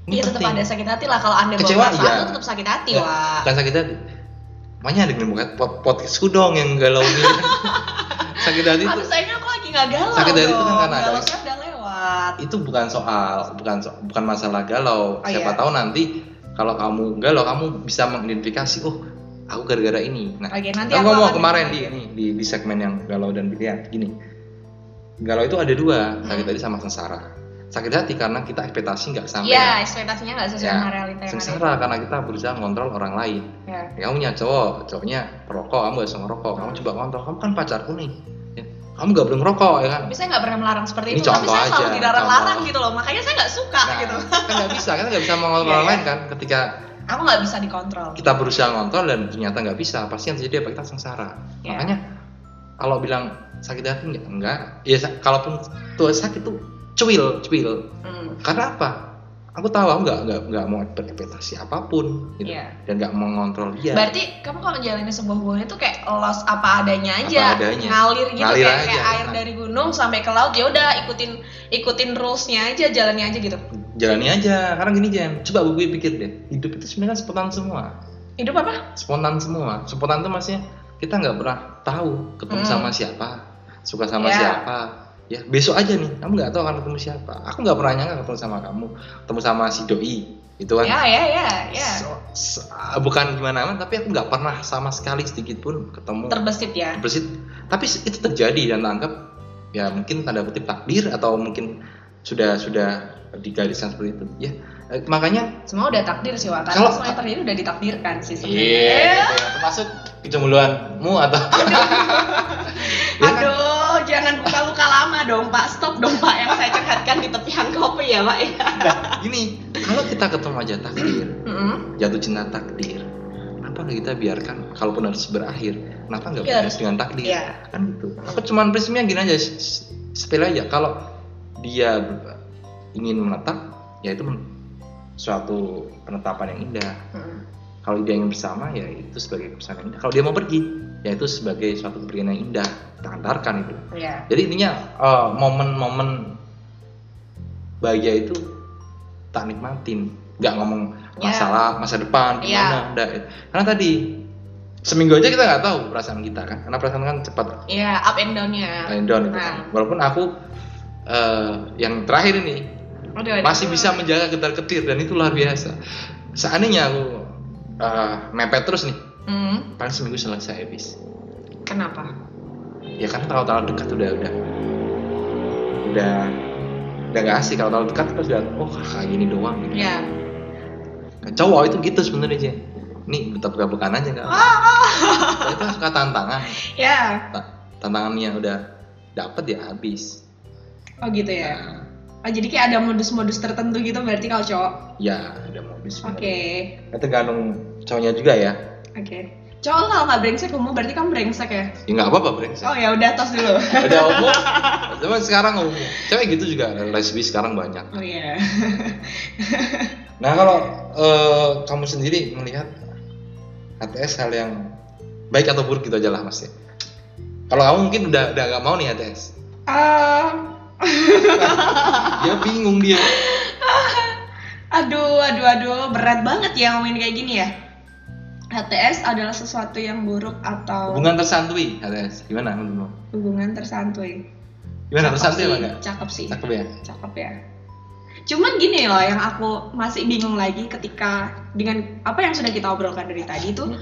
Ini
Iya, tetap ada sakit hati lah kalau Anda
Kecewa,
bawa perasaan
iya.
tuh tetap sakit hati,
Nggak-
Wak.
bukan sakit hati
(laughs)
makanya ada yang podcast podcastku dong yang galau ini sakit hati tuh
Harus sayangnya aku lagi nggak galau
Sakit dari itu
dong.
kan karena ada-
galau saya udah lewat
itu bukan soal bukan so- bukan masalah galau
Oh,
siapa
iya.
tahu nanti kalau kamu galau kamu bisa mengidentifikasi oh aku gara-gara ini nah
Oke, nanti
kamu
aku
ngomong
akan-
kemarin di, ini, di di segmen yang galau dan pilihan gini galau itu ada dua
Hmm.
sakit hati sama sengsara sakit hati karena kita ekspektasi nggak sampai ya.
Iya, ekspektasinya nggak sesuai sama realita yang ada.
sengsara karena kita berusaha mengontrol orang lain
Ya.
Ya, kamu punya cowok, cowoknya perokok, kamu gak bisa ngerokok, kamu coba kontrol, kamu kan pacarku nih, Ya, kamu gak boleh ngerokok ya kan?
Tapi saya nggak pernah melarang seperti
Ini
itu, tapi
contoh
saya selalu
aja,
dilarang-larang
contoh.
gitu loh. Makanya saya nggak suka
Nah,
gitu.
kan gak bisa, kan gak bisa mengontrol
Iya,
orang
iya.
lain kan? Ketika
Aku nggak bisa dikontrol.
kita berusaha ngontrol dan ternyata nggak bisa, pasti yang terjadi apa kita sengsara.
Iya.
Makanya kalau bilang sakit hati enggak, enggak. Ya sa- kalaupun tuh sakit tuh cuil, cuil.
Hmm.
Karena apa? Aku tahu aku nggak nggak nggak mau berekspektasi apapun, gitu.
Iya.
dan nggak mau mengontrol dia.
Berarti kamu kalau menjalani sebuah hubungan itu kayak los apa adanya aja,
Apa adanya.
ngalir gitu
Ngalir
kayak, kayak
aja.
air dari gunung sampai ke laut ya udah ikutin ikutin rulesnya aja, jalannya aja gitu.
jalani aja karena gini Jen coba gue pikir deh hidup itu sebenarnya kan spontan semua
Hidup apa?
spontan semua spontan tuh maksudnya kita nggak pernah tahu ketemu
Hmm.
sama siapa suka sama
Ya.
siapa ya besok aja nih kamu nggak tahu akan ketemu siapa aku nggak pernah nyangka ketemu sama kamu ketemu sama si doi gitu kan
Ya ya ya ya.
So- so- bukan gimana kan tapi aku nggak pernah sama sekali sedikit pun ketemu
Terbesit ya.
Terbesit. tapi itu terjadi dan anggap ya mungkin tanda kutip takdir atau mungkin sudah sudah digariskan seperti itu ya Eh, makanya
Semua udah takdir sih, Wak. Karena
Kalau-
semua yang terjadi udah ditakdirkan sih
Iya,
sebenarnya. Eh,
gitu ya. termasuk kecemburuanmu
(laughs)
atau Ya kan?
Aduh, jangan buka luka lama dong, Pak. Stop dong, Pak, yang saya curhatkan di tepian kopi ya, Pak. ya.
Nah, gini, kalau kita ketemu aja takdir,
Mm-mm.
jatuh cinta takdir, kenapa nggak kita biarkan kalaupun harus berakhir, kenapa nggak
Iya,
berhenti dengan takdir?
iya.
Kan gitu. Aku cuman prinsipnya gini aja, s- s- sepele aja. Kalau dia ber- ingin menetap, ya itu men- suatu penetapan yang indah.
Mm-mm.
Kalau dia ingin bersama, ya itu sebagai keputusan yang indah. Kalau dia mau pergi, ya itu sebagai suatu kepergian yang indah. Kita antarkan itu.
Iya.
Jadi intinya eh, momen-momen bahagia itu tak nikmatin, nggak ngomong
Ya.
masalah masa depan
Ya.
gimana, nggak. Karena tadi seminggu aja kita nggak tahu perasaan kita kan, karena perasaan kan cepat
Iya, up and down-nya.
and down itu
Nah.
kan. Walaupun aku eh, yang terakhir ini
Aduh, aduh.
masih bisa menjaga getar ketir dan itu luar biasa. Seandainya aku eh, mepet terus nih,
Hmm,
paling seminggu selesai habis.
kenapa?
ya kan kalau terlalu dekat udah udah udah udah gak asik kalau terlalu dekat terus udah oh kayak gini doang gitu.
Ya.
Nah, cowok itu gitu sebenarnya aja nih betap bukan aja nggak Kalau itu suka tantangan
Ya.
Ta- tantangannya udah dapet ya habis
Oh gitu ya.
Nah,
Oh, jadi kayak ada modus-modus tertentu gitu berarti kalau cowok.
ya udah mau habis
Oke.
itu tergantung cowoknya juga ya
Oke. Cowok kalau nggak brengsek umum berarti kamu brengsek ya?
ya nggak apa-apa brengsek
Oh ya udah
(laughs)
tos dulu.
udah umum cuman sekarang umum cewek gitu juga lesbi sekarang banyak
Oh iya. (laughs)
Nah kalau eh, kamu sendiri melihat HTS hal yang baik atau buruk gitu aja lah mas ya. Kalau kamu mungkin udah udah gak mau nih HTS.
Ehm,
Dia bingung dia.
aduh, aduh, aduh, berat banget ya ngomongin kayak gini ya. HTS adalah sesuatu yang buruk atau
Hubungan tersantui HTS. Gimana menurutmu?
hubungan tersantui.
Gimana
Cakep
tersantui
sih,
apa enggak?
Cakep sih.
Cakep ya.
cakep ya cuman gini loh yang aku masih bingung lagi ketika dengan apa yang sudah kita obrolkan dari tadi itu
Hmm.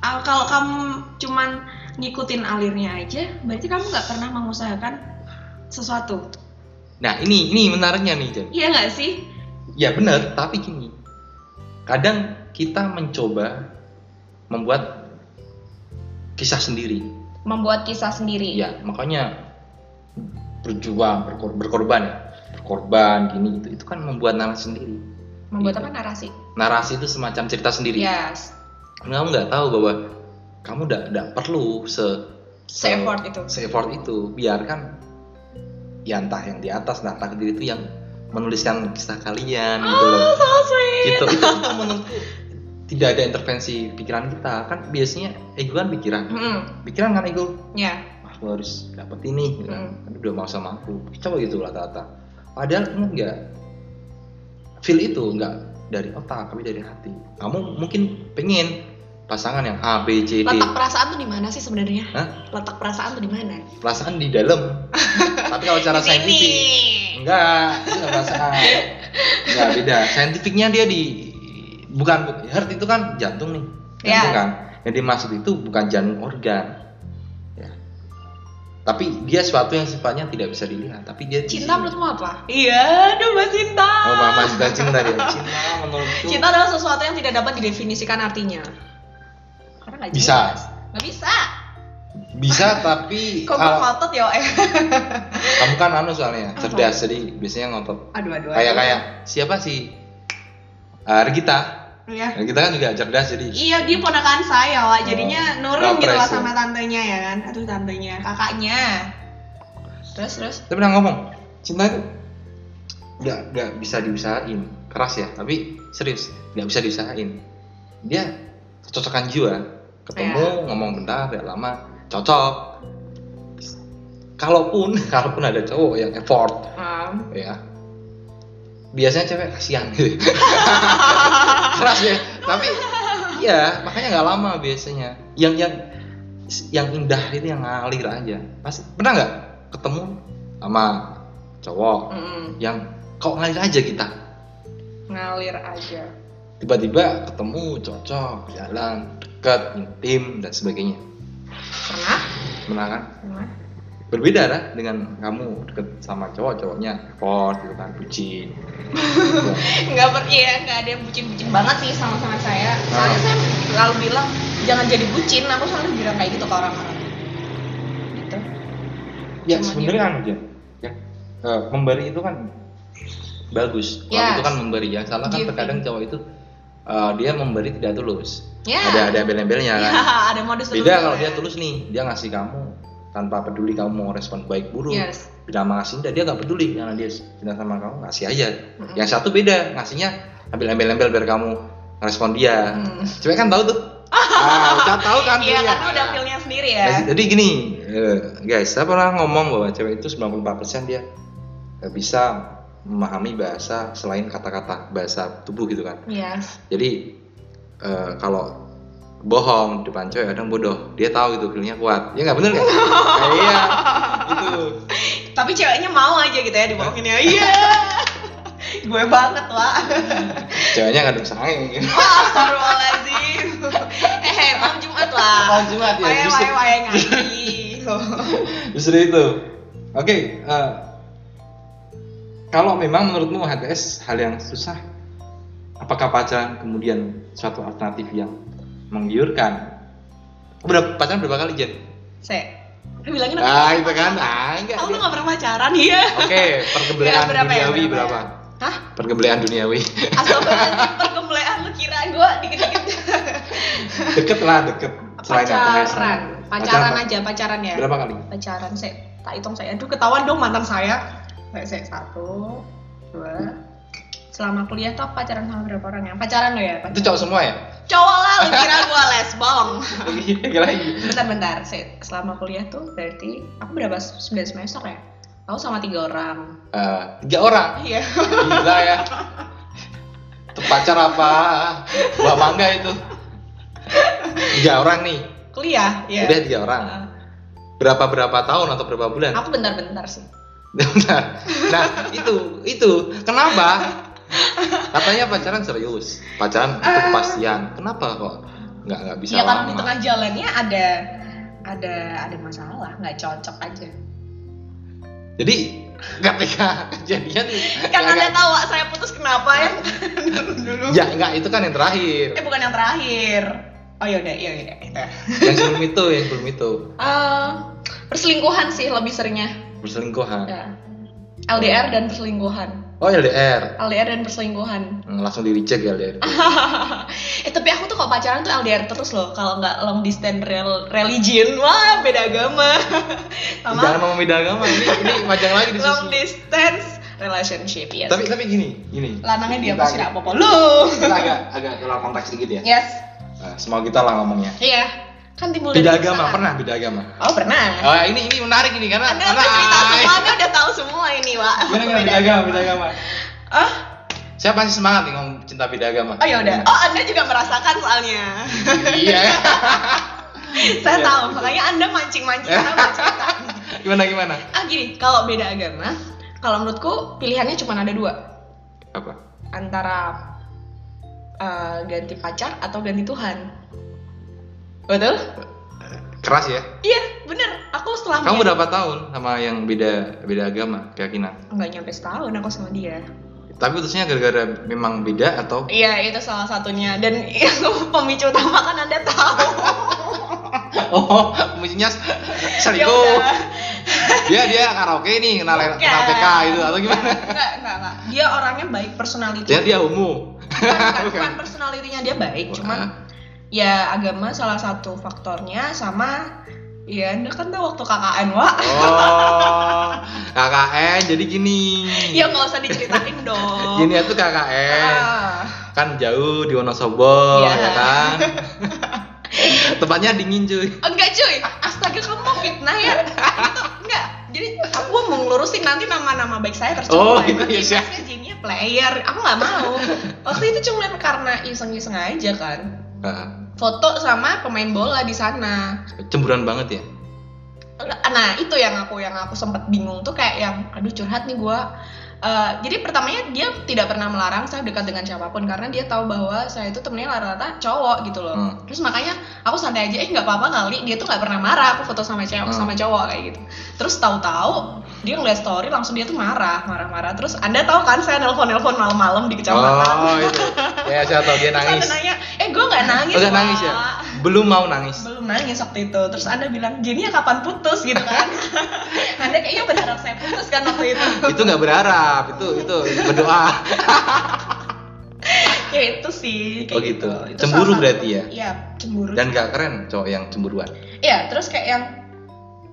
ah, kalau kamu cuman ngikutin alirnya aja berarti kamu nggak pernah mengusahakan sesuatu
Nah ini ini menariknya nih Jen.
iya nggak sih
Ya benar tapi gini. Kadang kita mencoba membuat kisah sendiri.
membuat kisah sendiri
Iya, makanya berjuang, berkor- berkorban ya. Berkorban gini itu itu kan membuat narasi sendiri.
membuat
Iya.
apa narasi Iya.
Narasi itu semacam cerita sendiri.
yes
Kamu nggak tahu bahwa kamu nggak nggak perlu se
se effort
gitu.
itu
se-effort itu. Biarkan ya entah yang di atas, entah takdir itu yang menuliskan kisah kalian gitu loh.
oh so sweet
Gitu. Itu, itu menurutku tidak ada intervensi pikiran kita kan biasanya ego kan pikiran
Mm,
pikiran kan ego
ya
aku harus dapat ini gitu kan.
Hmm.
Aduh, udah mau sama aku coba gitu rata-rata padahal kamu nggak feel itu nggak dari otak tapi dari hati kamu mungkin pengen pasangan yang A B C D
Letak perasaan tuh di mana sih sebenarnya?
Hah?
Letak perasaan tuh di mana?
perasaan di
(laughs)
dalam tapi kalau cara
Di sini.
saintifik enggak itu enggak perasaan enggak beda saintifiknya dia di bukan bu- heart itu kan jantung nih jantung
Iya.
kan yang dimaksud itu bukan jantung organ ya tapi dia sesuatu yang sifatnya tidak bisa dilihat tapi dia di
Cinta
sini.
menurutmu apa? Iya, aduh Mbak Cinta.
oh mama sudah cinta dia cinta
(laughs)
menurutku
Cinta adalah sesuatu yang tidak dapat didefinisikan artinya. Karena nggak
Bisa.
jelas. Nggak bisa.
bisa tapi
Kok
al-
ngotot ya,
(laughs)
eh.
kamu kan anu soalnya
Apa?
cerdas jadi biasanya ngotot
Aduh, aduh.
kayak
aduh.
kayak siapa sih Ah, Regita
Iya.
Regita kan juga cerdas jadi
Iya, dia ponakan saya, Wak. Jadinya nurun
Nggak
gitu
Oh.
lah
pressure.
sama tantenya ya kan. Aduh, tantenya, kakaknya. Terus, terus.
Saya pernah ngomong, cinta itu nggak nggak bisa diusahain, keras ya, tapi serius nggak bisa diusahain. Dia cocokan jiwa, ketemu
Iya.
ngomong bentar, tidak lama, cocok. Kalaupun (laughs) kalaupun ada cowok yang effort,
Um,
ya biasanya cewek kasihan gitu. keras ya, tapi iya makanya nggak lama biasanya. Yang yang yang indah itu yang ngalir aja. Pasti pernah nggak ketemu sama cowok
mm-mm.
yang kok ngalir aja kita
ngalir aja.
tiba-tiba ketemu cocok jalan deket intim dan sebagainya
Pernah?
Benar kan
Pernah.
berbeda lah dengan kamu deket sama cowok cowoknya effort gitu kan bucin
Nggak per iya, nggak ada yang bucin-bucin banget sih sama-sama saya.
Ah.
Soalnya saya selalu bilang jangan jadi bucin. Aku selalu bilang kayak gitu ke orang-orang. Gitu.
ya
Cuman
sebenarnya
kan
anu
gitu.
aja ya eh, memberi itu kan bagus Kalau
Yes.
itu kan memberi ya salah kan
Giving.
terkadang cowok itu eh, dia memberi tidak tulus
Ya.
ada ada embel-embelnya kan
Iya, ada modus
beda
tertentu
kalau
ya.
dia tulus nih dia ngasih kamu tanpa peduli kamu mau respon baik buruk
Yes.
beda sama ngasih dia dia nggak peduli karena dia cinta sama kamu ngasih aja
Mm-mm.
yang satu beda ngasihnya ambil embel-embel biar kamu respon dia
Mm.
cewek kan tahu
(laughs)
tuh ah udah tahu kan
Iya,
feelnya.
karena udah feel-nya sendiri ya.
Nah, jadi gini eh, guys saya pernah ngomong bahwa cewek itu 94% dia eh, bisa memahami bahasa selain kata-kata bahasa tubuh gitu kan
Yes.
jadi eh, kalau bohong di depan cewek kadang bodoh dia tahu itu feelnya kuat ya nggak bener kan Nah, iya gitu
tapi ceweknya mau aja gitu ya dibohongin ya iya (laughs) gue banget wah
Hmm. ceweknya nggak ada sange mungkin
wah astagfirullahaladzim eh malam jumat lah
Malam Jumat, ya,
wae
justru.
wae wae
(laughs)
ngaji
justru itu oke eh, kalau memang menurutmu HTS hal yang susah apakah pacaran kemudian suatu alternatif yang menggiurkan berapa pacaran berapa kali Jen?
se lu bilangin apa?
ah itu kan ah enggak
oh lu
dia-
gak pernah pacaran iya
oke pergemblean
Ya, berapa ya,
duniawi
berapa ya?
berapa,
hah
pergemblean
(laughs)
duniawi
astagfirullahaladzim pergumulaan lu kira gue (laughs) dikit-dikit
deket lah deket selain HTS.
pacaran pacaran aja pacaran ya
berapa kali
pacaran saya tak hitung saya aduh ketahuan dong mantan saya saya saya satu dua selama kuliah tuh aku pacaran sama berapa orang ya pacaran lo ya
itu
pacaran.
cowok
(laughs)
semua ya
cowok lah lu kira gua lesbong
lagi lagi
bentar bentar saya, selama kuliah tuh berarti aku berapa 9 semester ya aku sama tiga orang
Eh, tiga orang
iya
Gila ya. Itu pacar apa? Buah mangga itu. Tiga orang nih.
kuliah iya
Udah tiga orang.
Heeh.
Berapa berapa tahun atau berapa bulan?
aku bentar-bentar sih
(laughs) nah, nah, itu itu kenapa? Katanya pacaran serius, pacaran itu kepastian. Kenapa kok nggak nggak bisa
Eh. ya karena di
lama?
tengah jalannya ada ada ada masalah nggak cocok aja
Jadi ketika kejadian
kan
ya,
anda tahu Wak, saya putus kenapa
(laughs)
ya dulu
ya enggak itu kan yang terakhir.
Eh bukan yang terakhir. Oh yaudah, iya iya. itu.
yang sebelum itu, yang sebelum itu
Eh, perselingkuhan sih lebih seringnya.
berselingkuhan.
Ya. LDR dan perselingkuhan.
Oh LDR,
LDR dan perselingkuhan. (laughs)
Hmm, langsung di reject LDR.
eh tapi aku tuh kalau pacaran tuh LDR terus loh. Kalau nggak long distance rel- religion, wah beda agama. (laughs)
Jangan
Sama
mau beda agama ini, ini panjang lagi di
long distance relationship ya.
Tapi tapi gini, gini.
lanangnya dia
Kita
pasti
agak-
nggak apa-apa lu.
Kita agak agak keluar konteks dikit ya.
Yes.
Nah, semua kita lah ngomongnya.
Iya. Kan timbul dari
Beda agama
pasangan.
pernah beda agama.
Oh pernah.
Ah, ini ini menarik ini karena
Anda
karena
udah cerita semua, Anda udah tahu semua ini, Wak.
Gimana nggak beda agama, beda agama.
Ah,
Saya pasti semangat nih ngomong cinta beda agama.
Oh ya udah. Oh Anda juga merasakan
(laughs)
soalnya.
Iya.
Saya
Iya.
tahu. Makanya Anda mancing-mancing saya buat
(laughs)
cerita.
gimana gimana?
Ah gini, kalau beda agama, kalau menurutku pilihannya cuma ada dua
Apa?
antara eh, ganti pacar atau ganti Tuhan. Betul?
Keras ya.
Iya, bener. Aku setelah
Kamu
melihat-
berapa tahun sama yang beda beda agama keyakinan?
nggak nyampe setahun aku sama dia.
Tapi putusnya gara-gara memang beda atau
Iya, itu salah satunya. Dan (laughs) pemicu utama kan Anda tahu.
oh (laughs) musiknya
Ya
selingkuh
udah.
dia dia karaoke nih kenal
Bukan.
kenal PK itu atau gimana?
Enggak, enggak, enggak. Dia orangnya baik personality.
Dia dia umum.
Bukan, bukan,
(laughs) Bukan.
bukan personality-nya dia baik, cuman ya agama salah satu faktornya sama ya Anda kan tahu waktu KKN, Wak.
Oh, KKN jadi gini.
Ya nggak usah diceritain
Iya.
dong.
Gini eh. tuh KKN.
Ah.
Kan jauh di Wonosobo
Iya.
ya kan. Tempatnya dingin cuy.
Enggak cuy, astaga kamu mau fitnah ya? Itu, enggak, jadi aku mau ngelurusin nanti nama-nama baik saya
Oh,
tercemar.
gitu ya,
Nanti
Syah.
masnya jadinya player, aku nggak mau. Waktu itu cuma karena iseng-iseng aja kan.
Nah,
Foto sama pemain bola di sana.
cemburuan banget ya.
Nah itu yang aku yang aku sempat bingung tuh kayak yang aduh curhat nih gua. Eh, jadi pertamanya dia tidak pernah melarang saya dekat dengan siapapun karena dia tahu bahwa saya itu temennya rata-rata cowok gitu loh.
Hmm.
Terus makanya aku santai aja, eh nggak apa-apa kali. Dia tuh nggak pernah marah aku foto sama cewek
Hmm.
sama cowok kayak gitu. Terus tahu-tahu dia ngeliat story langsung dia tuh marah, marah-marah. Terus anda tahu kan saya nelpon-nelpon malam-malam di kecamatan.
Oh, itu. Ya, saya tahu dia
Terus
nangis.
anda nanya, eh gua nggak nangis.
Udah nangis
Wak."
ya. Belum mau nangis.
belum nangis waktu itu terus anda bilang gini ya kapan putus gitu
(laughs)
kan anda kayaknya berharap saya putus kan waktu itu
Itu nggak berharap, itu itu berdoa.
ya itu sih kayak
Oh gitu.
Itu
Cemburu
salah satu-
berarti ya?
iya cemburu
Dan gak keren cowok yang cemburuan.
iya terus kayak yang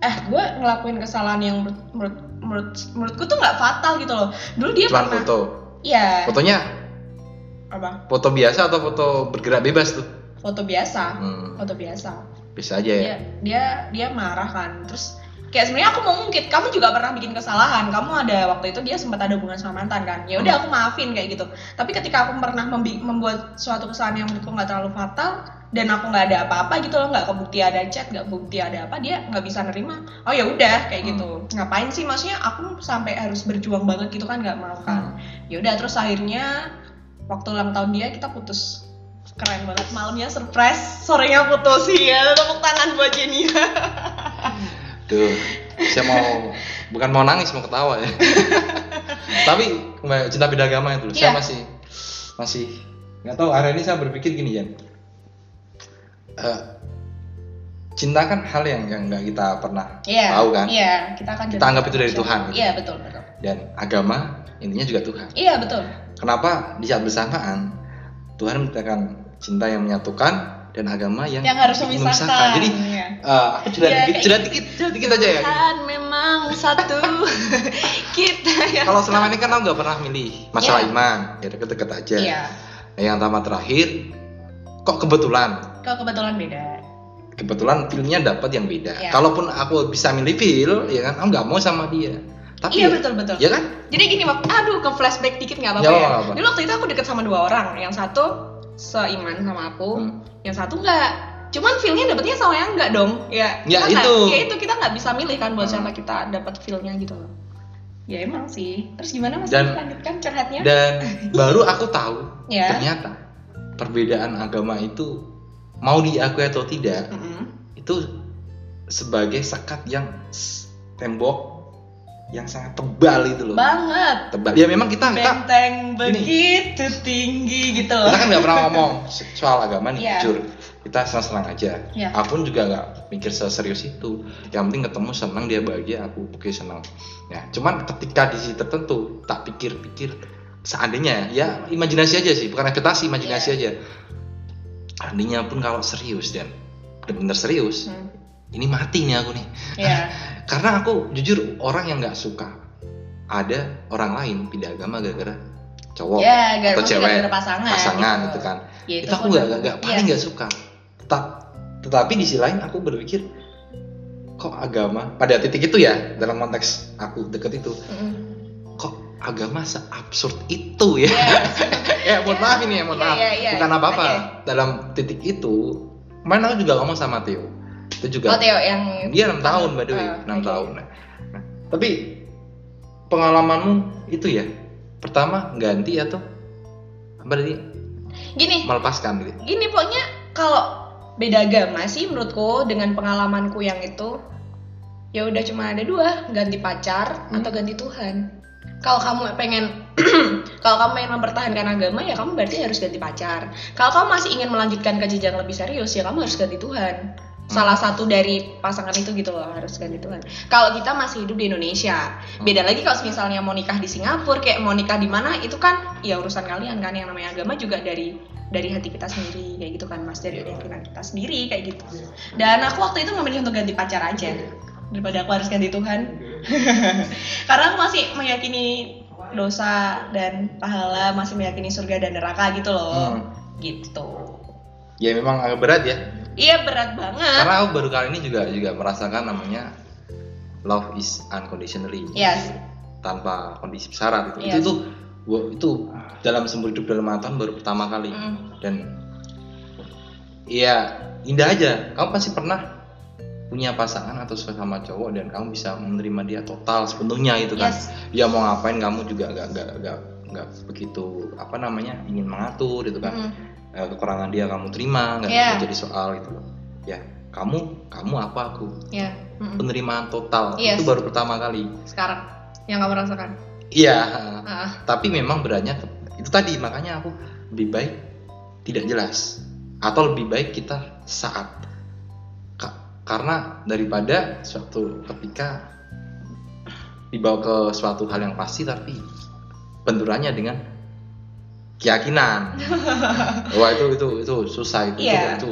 eh gue ngelakuin kesalahan yang menurut menurut menurut menurutku tuh nggak fatal gitu loh dulu dia
Cuman
pernah
foto.
iya
Fotonya
apa
foto biasa atau foto bergerak bebas tuh?
foto biasa
Hmm,
foto biasa
bisa aja ya.
dia dia dia marah kan terus kayak sebenarnya aku mau ngungkit kamu juga pernah bikin kesalahan kamu ada waktu itu dia sempat ada hubungan sama mantan kan ya udah aku maafin kayak gitu tapi ketika aku pernah membi- membuat suatu kesalahan yang menurutku nggak terlalu fatal dan aku nggak ada apa-apa gitu loh nggak kebukti ada chat nggak kebukti ada apa dia nggak bisa nerima oh ya udah kayak
Hmm.
gitu ngapain sih maksudnya aku sampai harus berjuang banget gitu kan nggak mau
Hmm.
kan ya udah terus akhirnya waktu ulang tahun dia kita putus keren banget malamnya surprise sorenya putus ya tepuk tangan buat Jenia
Tuh, saya mau bukan mau nangis mau ketawa ya. Tapi kembali- cinta beda agama itu, saya
Iya.
masih masih nggak tahu. Hari ini saya berpikir gini Jan. Eh, cinta kan hal yang yang nggak kita pernah
Iya.
tahu kan.
Iya, kita akan
Kita
jadi-
anggap itu dari Tuhan. gitu.
Iya, betul, betul.
Dan agama intinya juga Tuhan.
Iya, betul.
Kenapa di saat bersamaan Tuhan menciptakan cinta yang menyatukan dan agama yang,
Yang harus
ingin
memisahkan.
Jadi
Iya.
eh, aku curhat
Iya,
dikit,
kayak
curhat dikit, curhat dikit aja ya.
Tuhan memang
(laughs)
satu kita ya.
Kalau selama ini kan aku nggak pernah milih masalah
Iya.
iman, ya deket-deket aja.
Iya.
Nah, yang pertama terakhir, kok kebetulan,
Kalau kebetulan beda.
kebetulan filmnya dapat yang beda.
Iya.
Kalaupun aku bisa milih film, ya kan, aku nggak mau sama dia. Tapi
iya,
ya-
betul, betul.
ya kan?
Jadi gini, waktu aduh ke flashback dikit nggak apa-apa
Nggak
ya.
apa-apa.
Dulu waktu itu aku deket sama dua orang. Yang satu seiman sama aku,
Hmm.
yang satu nggak. Cuman feel-nya dapetnya sama yang nggak dong. Ya,
Ya,
kita nggak-
itu.
ya itu kita nggak bisa milih kan buat
Hmm.
siapa kita dapat feel-nya gitu loh. Ya emang sih. Terus gimana Mas?
Dan-
lanjutkan curhatnya?
Dan baru aku tahu
Iya.
ternyata perbedaan agama itu mau diakui atau tidak
Mm-mm.
itu sebagai sekat yang s- tembok yang sangat tebal itu loh.
banget
Tebal. Ya memang kita kita
benteng begitu tinggi gitu
kita
loh
kan nggak pernah ngomong so- soal agama nih
Iya.
jujur kita senang-senang aja
Iya.
aku pun juga nggak mikir serius itu yang penting ketemu senang dia bahagia aku oke senang ya cuman ketika di sisi tertentu tak pikir-pikir seandainya ya imajinasi aja sih bukan ekspektasi imajinasi
Iya.
aja seandainya pun kalau serius dan bener-bener serius
(laughs) Hmm,
ini mati nih aku nih
Iya.
karena aku jujur orang yang nggak suka ada orang lain pindah agama gara-gara cowok
ya gara
atau cewek
pasangan
pasangan
gitu.
gitu kan
Ya,
itu aku
pun
nggak
udah-
nggak
Iya.
paling nggak suka tetap tetapi di sisi lain aku berpikir
Hmm.
kok agama pada titik itu ya dalam konteks aku deket itu
Mm-mm.
kok agama seabsurd itu ya. (laughs) ya mohon
Iya.
maaf ini ya mohon
Iya,
maaf.
iya, iya.
Bukan apa-apa.
Oke.
Dalam titik itu, kemarin aku juga ngomong sama Theo. Itu juga.
Oh Theo yang
Dia enam tahun by the way,
Ah,
enam
oke.
tahun. Nah, nah, tapi pengalamanmu itu ya, pertama ganti atau berarti
Gini,
melepaskan gitu.
gini pokoknya kalau beda agama sih menurutku dengan pengalamanku yang itu ya udah cuma ada dua ganti pacar
Hmm.
atau ganti Tuhan kalau kamu pengen (clears throat) kalau kamu pengen mempertahankan agama ya kamu berarti harus ganti pacar kalau kamu masih ingin melanjutkan ke jenjang lebih serius ya kamu harus ganti Tuhan salah satu dari pasangan itu gitu loh harus ganti Tuhan kalau kita masih hidup di Indonesia beda lagi kalau misalnya mau nikah di Singapura kayak mau nikah di mana itu kan ya urusan kalian kan yang namanya agama juga dari dari hati kita sendiri kayak gitu kan mas dari
Iya.
keyakinan kita sendiri kayak gitu dan aku waktu itu memilih untuk ganti pacar aja daripada aku harus ganti Tuhan (laughs) karena aku masih meyakini dosa dan pahala masih meyakini surga dan neraka gitu loh
Hmm.
gitu
Ya memang agak berat ya.
iya berat banget
Karena aku baru kali ini juga juga merasakan namanya love is unconditionally.
yes
tanpa kondisi syarat gitu. itu
Iya.
itu tuh gua- itu dalam seumur hidup dalam lima tahun baru pertama kali
Mm.
dan iya indah aja kamu pasti pernah punya pasangan atau sama cowok dan kamu bisa menerima dia total sepenuhnya itu kan
Yes.
ya mau ngapain kamu juga gak gak gak gak begitu apa namanya ingin mengatur gitu kan
Mm.
Eh, kekurangan dia kamu terima nggak
Iya.
jadi soal gitu loh ya kamu kamu apa aku
ya mm-mm.
penerimaan total
Yes.
itu baru pertama kali
sekarang yang kamu rasakan
iya
Ah.
tapi memang beratnya ke- itu tadi makanya aku lebih baik tidak jelas atau lebih baik kita saat Ka- karena daripada suatu ketika dibawa ke suatu hal yang pasti tapi benturannya dengan keyakinan wah itu itu itu susah itu
Iya.
itu, itu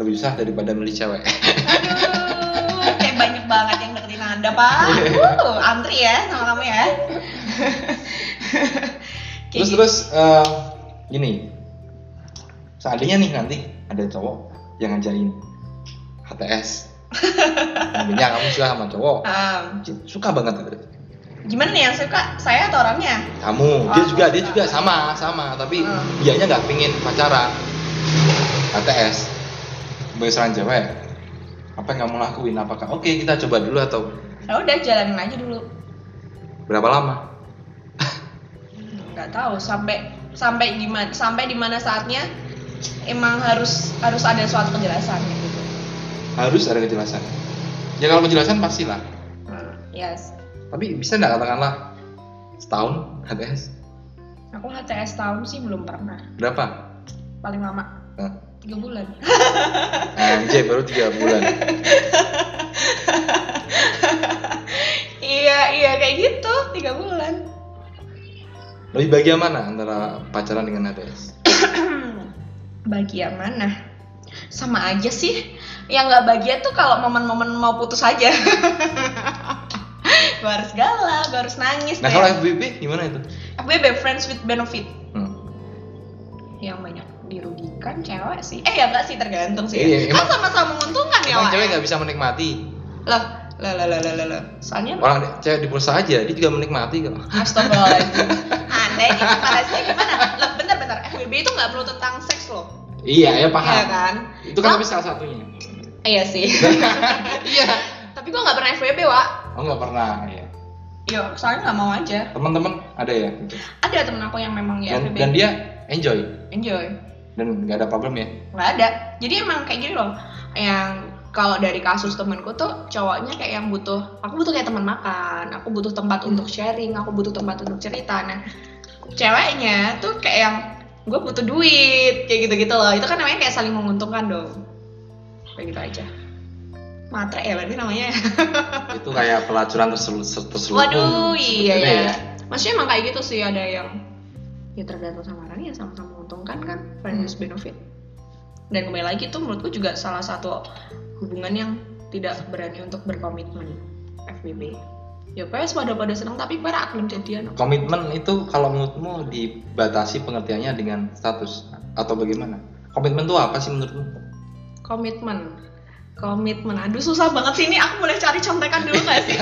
lebih susah daripada milih cewek
Aduh, kayak banyak banget yang deketin Anda, Pak. Wuh, antri ya sama kamu ya. (laughs) Kayak
terus
gitu.
terus eh, gini seandainya nih nanti ada cowok yang ngajain
(laughs)
HTS Intinya kamu suka sama cowok
Um,
suka banget gitu.
gimana nih yang suka? Saya atau orangnya?
kamu
Oh,
dia
aku
juga dia
suka.
juga sama sama tapi
Hmm.
dianya nggak pingin pacaran HTS besaran cewek apa yang kamu lakuin apakah oke kita coba dulu atau
Ya udah jalanin aja dulu.
berapa lama
Nggak tahu sampai sampai gimana sampai di mana saatnya emang harus harus ada suatu penjelasan kayak gitu.
harus ada kejelasan ya kalau penjelasan pastilah
Yes.
tapi bisa nggak katakanlah setahun HTS
Aku HTS tahun sih belum pernah.
berapa
Paling lama
Nah,
tiga bulan.
anjay Ah, baru tiga bulan
(laughs) iya iya kayak gitu tiga bulan.
lebih bagian mana antara pacaran dengan HTS
bahagia mana sama aja sih yang nggak bahagia tuh kalau momen-momen mau putus aja (laughs) gue harus galau gue harus nangis
nah kalau FBB gimana itu
FBB friends with benefit
hmm.
yang banyak dirugikan cewek sih eh ya nggak sih tergantung sih
Iya,
kan
emang-
sama-sama menguntungkan ya
Emang
Wak?
cewek nggak bisa menikmati
loh lah lah lah lah, lah lah soalnya
orang de- cewek di pulsa aja dia juga menikmati kok (laughs)
Astagfirullahaladzim Anda ini parasnya gimana? Loh bentar-bentar FBB itu nggak perlu tentang seks loh
iya ya
Iya
paham
kan?
itu kan
Hah?
tapi salah satunya
Iya sih
(laughs) iya
Tapi gue nggak pernah FBB Wak
oh nggak pernah ya
Ya, soalnya nggak mau aja.
teman-teman ada ya gitu.
Ada temen aku yang memang ya
dan,
FBB.
dan dia enjoy
enjoy.
dan nggak ada problem ya
Nggak ada. Jadi emang kayak gini loh. Yang kalau dari kasus temenku tuh cowoknya kayak yang butuh, aku butuh kayak teman makan, aku butuh tempat untuk sharing, aku butuh tempat untuk cerita. Nah, ceweknya tuh kayak yang gue butuh duit kayak gitu-gitu loh. Itu kan namanya kayak saling menguntungkan dong. Kayak gitu aja. Matre ya berarti namanya.
itu kayak pelacuran tersel- terselubung
Waduh, iya
Sebenarnya
ya. Maksudnya emang kayak gitu sih ada yang ya tergantung sama orangnya sama-sama menguntungkan kan friends with benefit. Dan kembali lagi tuh menurutku juga salah satu hubungan yang tidak berani untuk berkomitmen FBB. Ya pokoknya pada pada seneng tapi para belum jadian.
Komitmen itu kalau menurutmu dibatasi pengertiannya dengan
(laughs)
status atau bagaimana? Komitmen itu apa sih menurutmu?
Komitmen komitmen aduh susah banget sih ini aku boleh cari contekan dulu gak sih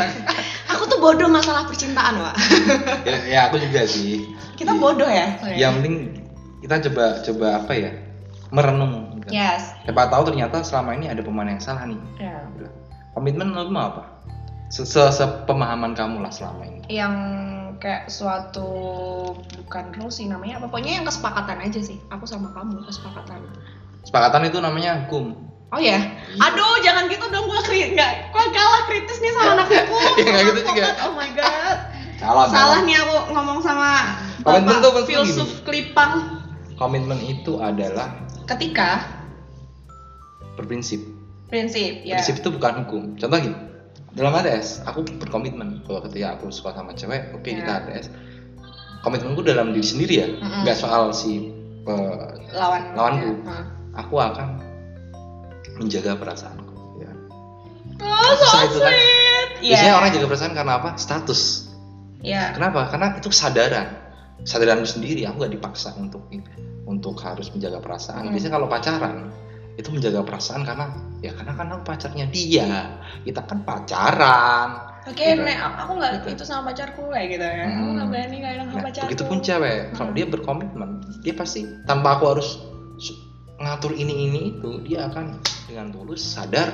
aku tuh bodoh masalah percintaan wa
ya, ya aku juga sih
kita
Iya.
bodoh ya
yang penting kita coba coba apa ya merenung gitu.
yes
siapa tahu ternyata selama ini ada pemahaman yang salah nih
Ya.
komitmen menurutmu apa Se- se- sepemahaman kamu lah selama ini
yang kayak suatu bukan rules sih namanya apa pokoknya yang kesepakatan aja sih aku sama kamu kesepakatan
sepakatan itu namanya hukum
oh ya aduh jangan gitu dong gua kri nggak gua kalah kritis nih sama anak aku
(laughs) Iya, nggak gitu juga.
oh my
(laughs)
god
salah
salah
salah.
nih aku ngomong sama
Paling
bapak
penting tuh, penting
filsuf kelipang
komitmen itu adalah
ketika
berprinsip
prinsip ya
prinsip itu bukan hukum contoh gini dalam ATS aku berkomitmen kalau ketika aku suka sama cewek oke
Ya.
kita ATS komitmenku dalam diri sendiri ya
Mm-mm.
nggak soal si eh,
lawan
Lawanku.
Ya, heeh.
aku akan menjaga perasaanku ya.
oh so
Susah itu kan.
sweet Iya.
biasanya orang jaga perasaan karena apa status
Iya.
kenapa karena itu kesadaran kesadaranku sendiri aku gak dipaksa untuk untuk harus menjaga perasaan
Hmm.
biasanya kalau pacaran itu menjaga perasaan karena ya karena kan aku pacarnya dia kita kan pacaran
oke
Gitu.
Nek, aku nggak
Gitu.
itu sama pacarku kayak gitu ya aku
Hmm.
nggak berani kayak sama
nah,
pacarku
begitu pun cewek kalau
Hmm.
dia berkomitmen dia pasti tanpa aku harus su- ngatur ini ini itu dia akan dengan tulus sadar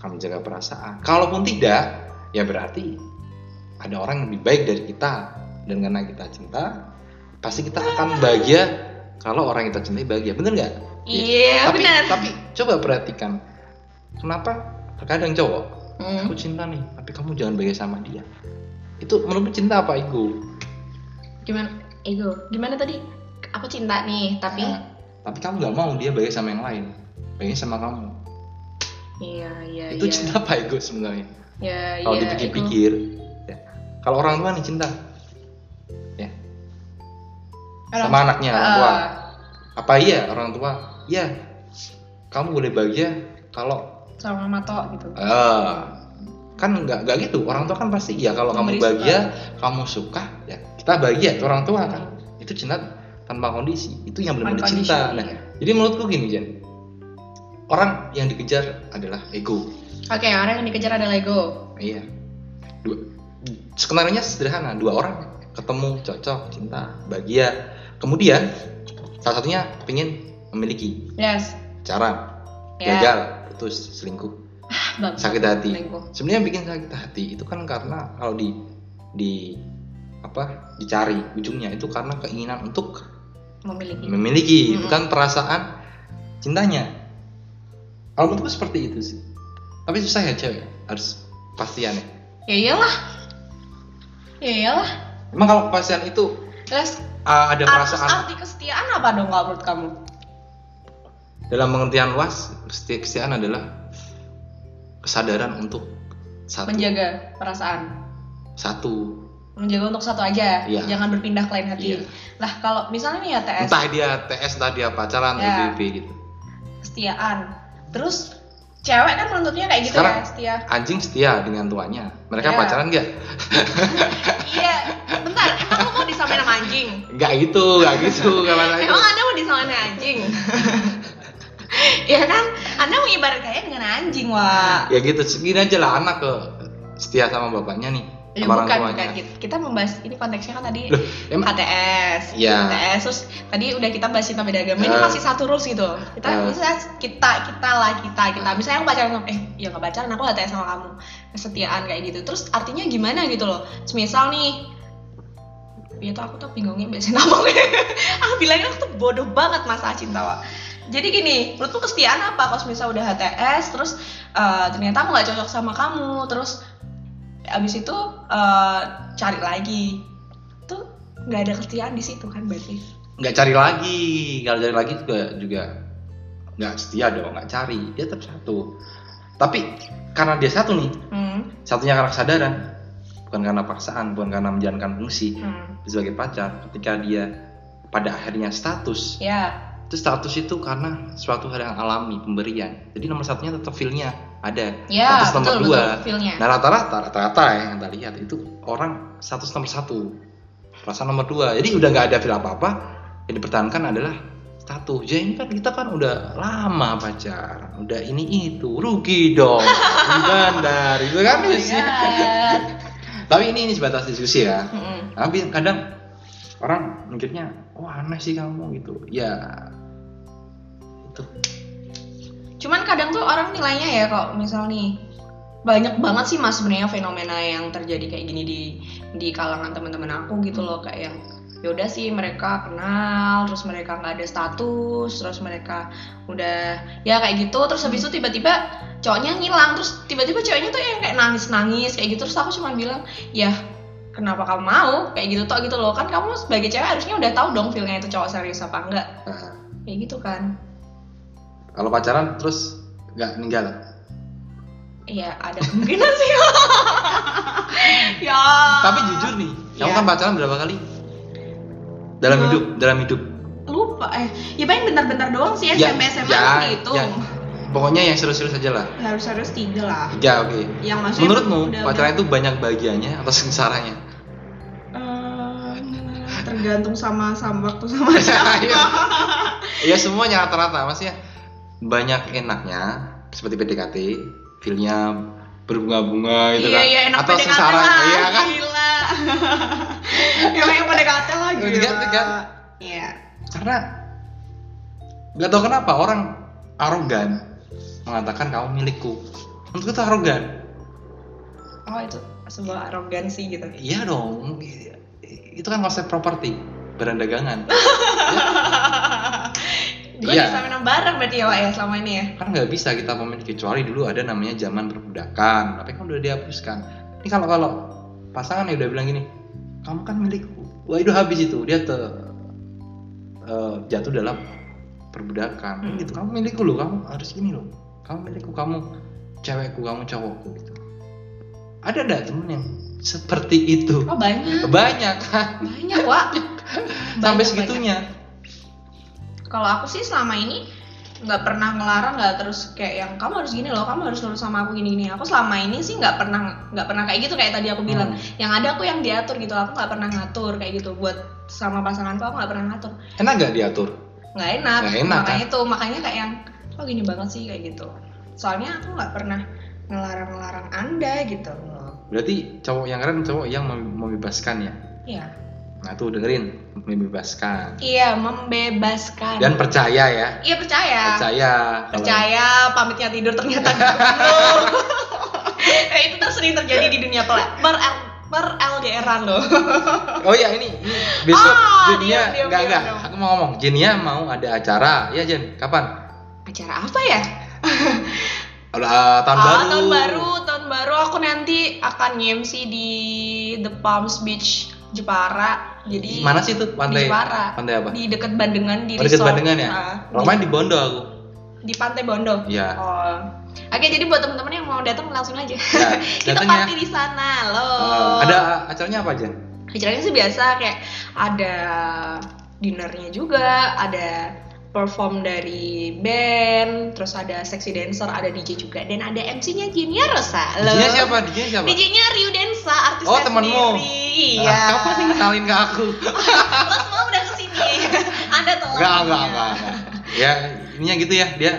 akan menjaga perasaan kalaupun tidak ya berarti ada orang yang lebih baik dari kita dan karena kita cinta pasti kita
Ah.
akan bahagia kalau orang yang kita cintai bahagia bener nggak
iya
tapi
benar
tapi coba perhatikan kenapa terkadang cowok
Hmm.
aku cinta nih tapi kamu jangan bahagia sama dia itu menurutmu cinta apa ego
gimana ego gimana tadi aku cinta nih tapi
Nah, tapi kamu nggak mau dia bahagia sama yang lain bahagia sama kamu
iya iya
itu
iya.
cinta apa ego sebenarnya
ya,
kalau
ya, ego.
dipikir-pikir ya. kalau orang tua nih cinta ya sama anaknya orang tua
Ah,
apa iya orang tua iya kamu boleh bahagia kalau
sama mama tok gitu
eh, kan nggak nggak gitu orang tua kan pasti ya kalau kamu
Memberi
bahagia kamu suka ya kita bahagia itu orang tua kan itu cinta tanpa kondisi itu yang benar benar cinta
Unconditional,
nah
iya.
jadi menurutku gini Jen orang yang dikejar adalah ego
oke orang yang dikejar adalah ego
iya dua skenario sederhana dua orang ketemu cocok cinta bahagia kemudian salah satunya pengen memiliki
yes
cara
Ya.
gagal putus selingkuh
bagus
sakit hati
Selingkuh.
sebenarnya yang bikin sakit hati itu kan karena kalau di di apa dicari ujungnya itu karena keinginan untuk
memiliki
memiliki
Mm-mm.
bukan perasaan cintanya kalau menurutku seperti itu sih tapi susah ya cewek harus pastian ya
ya iyalah ya iyalah
emang kalau pastian itu
les
uh, ada
artis
perasaan
arti kesetiaan apa dong kalau menurut kamu
dalam pengertian luas keseti- kesetiaan adalah kesadaran untuk satu
menjaga perasaan
satu
menjaga untuk satu aja
Iya.
jangan berpindah ke lain hati
Iya.
lah kalau misalnya nih ya TS
entah dia TS entah dia pacaran yeah.
Ya.
gitu
kesetiaan terus cewek kan menuntutnya kayak gitu
Sekarang-
ya setia
anjing setia dengan tuannya mereka
Ya.
pacaran nggak
iya bentar emang lu mau disamain sama anjing
nggak gitu
(laughs)
nggak gitu kapan lagi
emang anda mau disamain sama
(laughs)
anjing ya kan anda mengibaratkannya dengan anjing wah
ya gitu segini aja lah anak ke setia sama bapaknya nih
Ya,
sama orang
bukan,
tuanya
bukan Kita- kita membahas ini konteksnya kan tadi
Loh, emang
HTS,
Iya.
HTS, terus tadi udah kita bahas cinta beda agama ini
Eh.
masih satu rules gitu. Kita
Eh.
misalnya kita kita lah kita kita misalnya yang pacaran sama- eh ya nggak pacaran aku HTS sama kamu kesetiaan kayak gitu. Terus artinya gimana gitu loh? Misal nih ya tuh aku tuh bingungnya biasanya ngomong (laughs) aku Ah, bilangnya aku tuh bodoh banget masalah cinta Wak. jadi gini lu tuh kesetiaan apa kalau misal udah HTS terus eh, ternyata aku nggak cocok sama kamu terus ya abis itu eh, cari lagi tuh nggak ada kesetiaan di situ kan berarti
nggak cari lagi kalau cari lagi juga juga nggak setia dong nggak cari dia tetap satu tapi karena dia satu nih
hmm,
satunya karena kesadaran bukan karena paksaan bukan karena menjalankan fungsi
hmm.
sebagai pacar ketika dia pada akhirnya status
ya
itu status itu karena suatu hal yang alami pemberian jadi nomor satunya tetap feel-nya ada
ya
status nomor
betul
dua
betul feelnya
nah rata-rata rata-rata ya yang kita lihat itu orang status nomor satu perasaan nomor dua jadi udah nggak ada feel apa-apa yang dipertahankan adalah satu Jeng kan kita kan udah lama pacaran udah ini itu rugi
(laughs)
dong bandar itu kan
Oh my
sih.
God.
tapi ini ini sebatas diskusi ya (laughs)
Mm-mm.
tapi kadang orang mikirnya wah aneh sih kamu gitu ya itu
Cuman kadang tuh orang nilainya ya kok misal nih banyak banget sih mas sebenarnya fenomena yang terjadi kayak gini di di kalangan teman-teman aku gitu loh kayak yang yaudah sih mereka kenal terus mereka nggak ada status terus mereka udah ya kayak gitu terus habis itu tiba-tiba cowoknya ngilang terus tiba-tiba cowoknya tuh yang kayak nangis-nangis kayak gitu terus aku cuma bilang ya kenapa kamu mau kayak gitu toh gitu loh kan kamu sebagai cewek harusnya udah tahu dong feelnya itu cowok serius apa enggak
Nah,
kayak gitu kan
kalau pacaran terus nggak ninggal
Iya ada kemungkinan sih. (laughs) ya.
tapi jujur nih kamu
Iya.
kan pacaran berapa kali dalam
Dua.
hidup dalam hidup
lupa eh ya paling bentar-bentar doang sih SMP Iya, SMA harus dihitung.
ya. pokoknya yang serius-serius aja lah
Harus harus gitu. tiga lah.
tiga oke
Yang maksudnya
menurutmu
udah-
pacaran itu banyak bahagianya atau sengsaranya
Eh, tergantung sama sama waktu sama siapa.
Iya. (laughs) Iya semuanya rata-rata mas ya banyak enaknya seperti PDKT feelnya berbunga-bunga gitu
(laughs) iya
kan
iya enak
atau
PDKT
sengsara
lah.
iya kan
Gila. (laughs) yang yang PDKT lah gila.
Tiga, tiga.
Iya.
karena nggak tahu kenapa orang arogan mengatakan kamu milikku untuk itu arogan
Oh itu sebuah arogansi gitu. (laughs)
iya dong itu kan konsep properti barang dagangan
Gue
Iya.
disamain sama barang berarti ya Wak ya selama ini ya.
kan nggak bisa kita pemilik kecuali dulu ada namanya zaman perbudakan tapi kan udah dihapuskan ini kalau kalau pasangan ya udah bilang gini kamu kan milikku wah itu habis itu dia te, eh, jatuh dalam perbudakan
Hmm.
gitu kamu milikku loh kamu harus gini loh kamu milikku kamu cewekku kamu cowokku gitu ada ada temen yang seperti itu
Oh banyak.
banyak (laughs) kan
Banyak
(laughs)
Wak.
sampai
Banyak,
segitunya
kalau aku sih selama ini nggak pernah ngelarang nggak terus kayak yang kamu harus gini loh kamu harus nurut sama aku gini gini aku selama ini sih nggak pernah nggak pernah kayak gitu kayak tadi aku bilang
Hmm.
yang ada aku yang diatur gitu aku nggak pernah ngatur kayak gitu buat sama pasanganku aku nggak pernah ngatur
enak nggak diatur
nggak enak,
Nggak enak, ah.
makanya itu makanya kayak yang kok gini banget sih kayak gitu soalnya aku nggak pernah ngelarang ngelarang anda gitu loh
berarti cowok yang keren cowok yang mem- membebaskan ya
iya
Nah tuh dengerin membebaskan
iya membebaskan
dan percaya ya
iya percaya
percaya kalau-
Ah. percaya pamitnya tidur
(laughs)
ternyata belum (laughs) nah, itu tuh sering terjadi di dunia pel per per LDRan loh (laughs)
oh ya ini, ini besok
Ah, diam,
Jinia
diam,
enggak
diam,
enggak
diam.
aku mau ngomong Jinia mau ada acara ya Jen kapan
acara apa ya
Udah, ah, tahun
Ah,
baru
tahun baru tahun baru aku nanti akan nge-MC di The Palms Beach Jepara
di
jadi
mana sih tuh pantai
di Jepara
pantai apa
di deket Bandengan di
Oh, deket
resort.
Bandengan ya
Ah,
Romain di Bondo aku
di, di Pantai Bondo
Iya.
oh. Oke, jadi buat teman-teman yang mau datang langsung aja.
Ya,
Kita
datang ya.
party (laughs) di sana,
Ah,
loh.
ada acaranya apa Jen
acaranya sih biasa kayak ada dinernya juga, ada perform dari band, terus ada sexy dancer, ada DJ juga, dan ada MC-nya Jinia Rosa. Loh.
Jinia siapa Jinia siapa
DJ-nya Ryu Densa, artis
Oh, temanmu.
sendiri.
Ah,
Iya.
kapan nih kenalin ke aku
Lo semua udah
(laughs)
kesini. Anda telat.
Enggak, enggak, enggak,
(laughs)
enggak. Ya, ininya gitu ya. Dia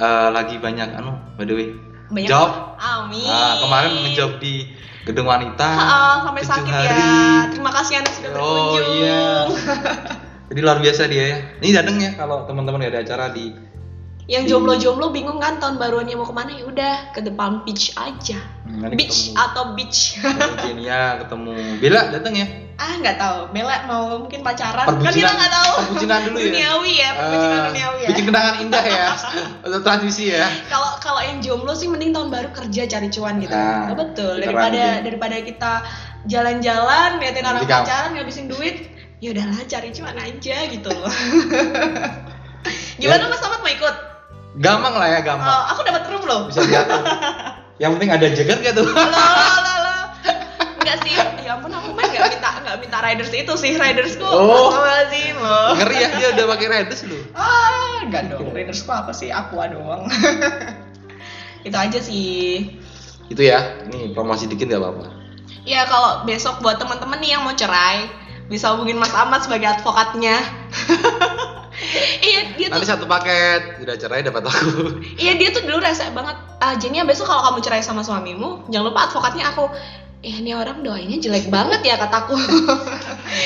eh, lagi banyak anu, by the way.
Banyak
job.
Amin.
Ah, kemarin ngejob di gedung wanita.
Ah, sampai
tujuh
sakit
hari.
ya. Terima kasih Anda sudah
Oh
berkunjung.
iya. (laughs) Jadi luar biasa dia ya. Ini dateng ya kalau teman-teman gak ada acara di
Yang
Hmm.
jomblo-jomblo bingung kan tahun baruannya mau kemana ya udah ke The Palm Beach aja.
Hmm, nanti
Beach
ketemu.
atau beach? (laughs)
ketemu Genia, ketemu Bella dateng ya.
ah nggak tahu. Bella mau mungkin pacaran. kan kita
Perbucinan.
nggak tahu.
Perbucinan dulu ya.
Duniawi ya, perbucinan
Eh,
duniawi ya.
Bikin kenangan indah
(laughs)
ya. Untuk transmisi ya.
Kalau kalau yang jomblo sih mending tahun baru kerja cari cuan gitu.
Ah,
Oh, betul.
kita
Daripada
rajin.
daripada kita jalan-jalan ngeliatin orang
Jadi kamu-
pacaran ngabisin duit, ya udahlah cari cuan aja gitu
(laughs)
loh.
Ya.
Gimana Mas Ahmad mau ikut?
Gampang lah ya,
Oh,
gampang.
aku dapat room loh.
Bisa
(laughs)
diatur. Yang penting ada jeger gak tuh?
Loh, loh, loh. Enggak sih, ya ampun aku mah enggak minta enggak minta riders itu sih, ridersku.
Oh.
Astagfirullahaladzim loh.
Ngeri ya dia udah pakai redus loh.
Ah, enggak dong, ridersku apa sih? Aku doang. (laughs) itu aja sih.
itu ya ini promosi dikit nggak apa-apa
Ya kalau besok buat teman-teman nih yang mau cerai, bisa hubungin Mas Ahmad sebagai advokatnya. (laughs) iya dia tuh
Nanti satu paket, udah cerai dapat aku. (laughs)
iya dia tuh dulu rese banget ah Jenia besok kalau kamu cerai sama suamimu jangan lupa advokatnya aku eh ini orang doainnya jelek banget ya kataku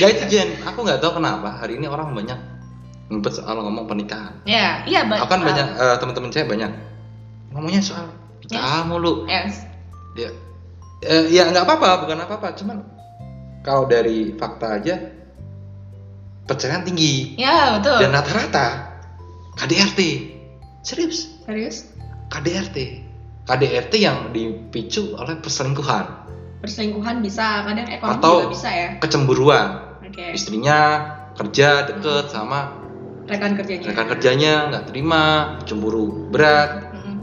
ya itu Jen, aku nggak tahu kenapa hari ini orang banyak ngumpet soal ngomong pernikahan.
(laughs) ya iya ba-
Aku kan
ah,
banyak eh, teman-teman saya banyak ngomongnya soal nikah mulu.
yes.
Ya, eh, ya nggak apa-apa, bukan apa-apa. Cuman kalau dari fakta aja perceraian tinggi
ya betul
dan rata-rata KDRT serius
serius
KDRT KDRT yang dipicu oleh perselingkuhan
perselingkuhan bisa kadang ekonomi
Atau-
juga bisa ya
kecemburuan
oke
istrinya kerja deket sama
rekan kerjanya
rekan kerjanya nggak terima cemburu berat
Mm-mm.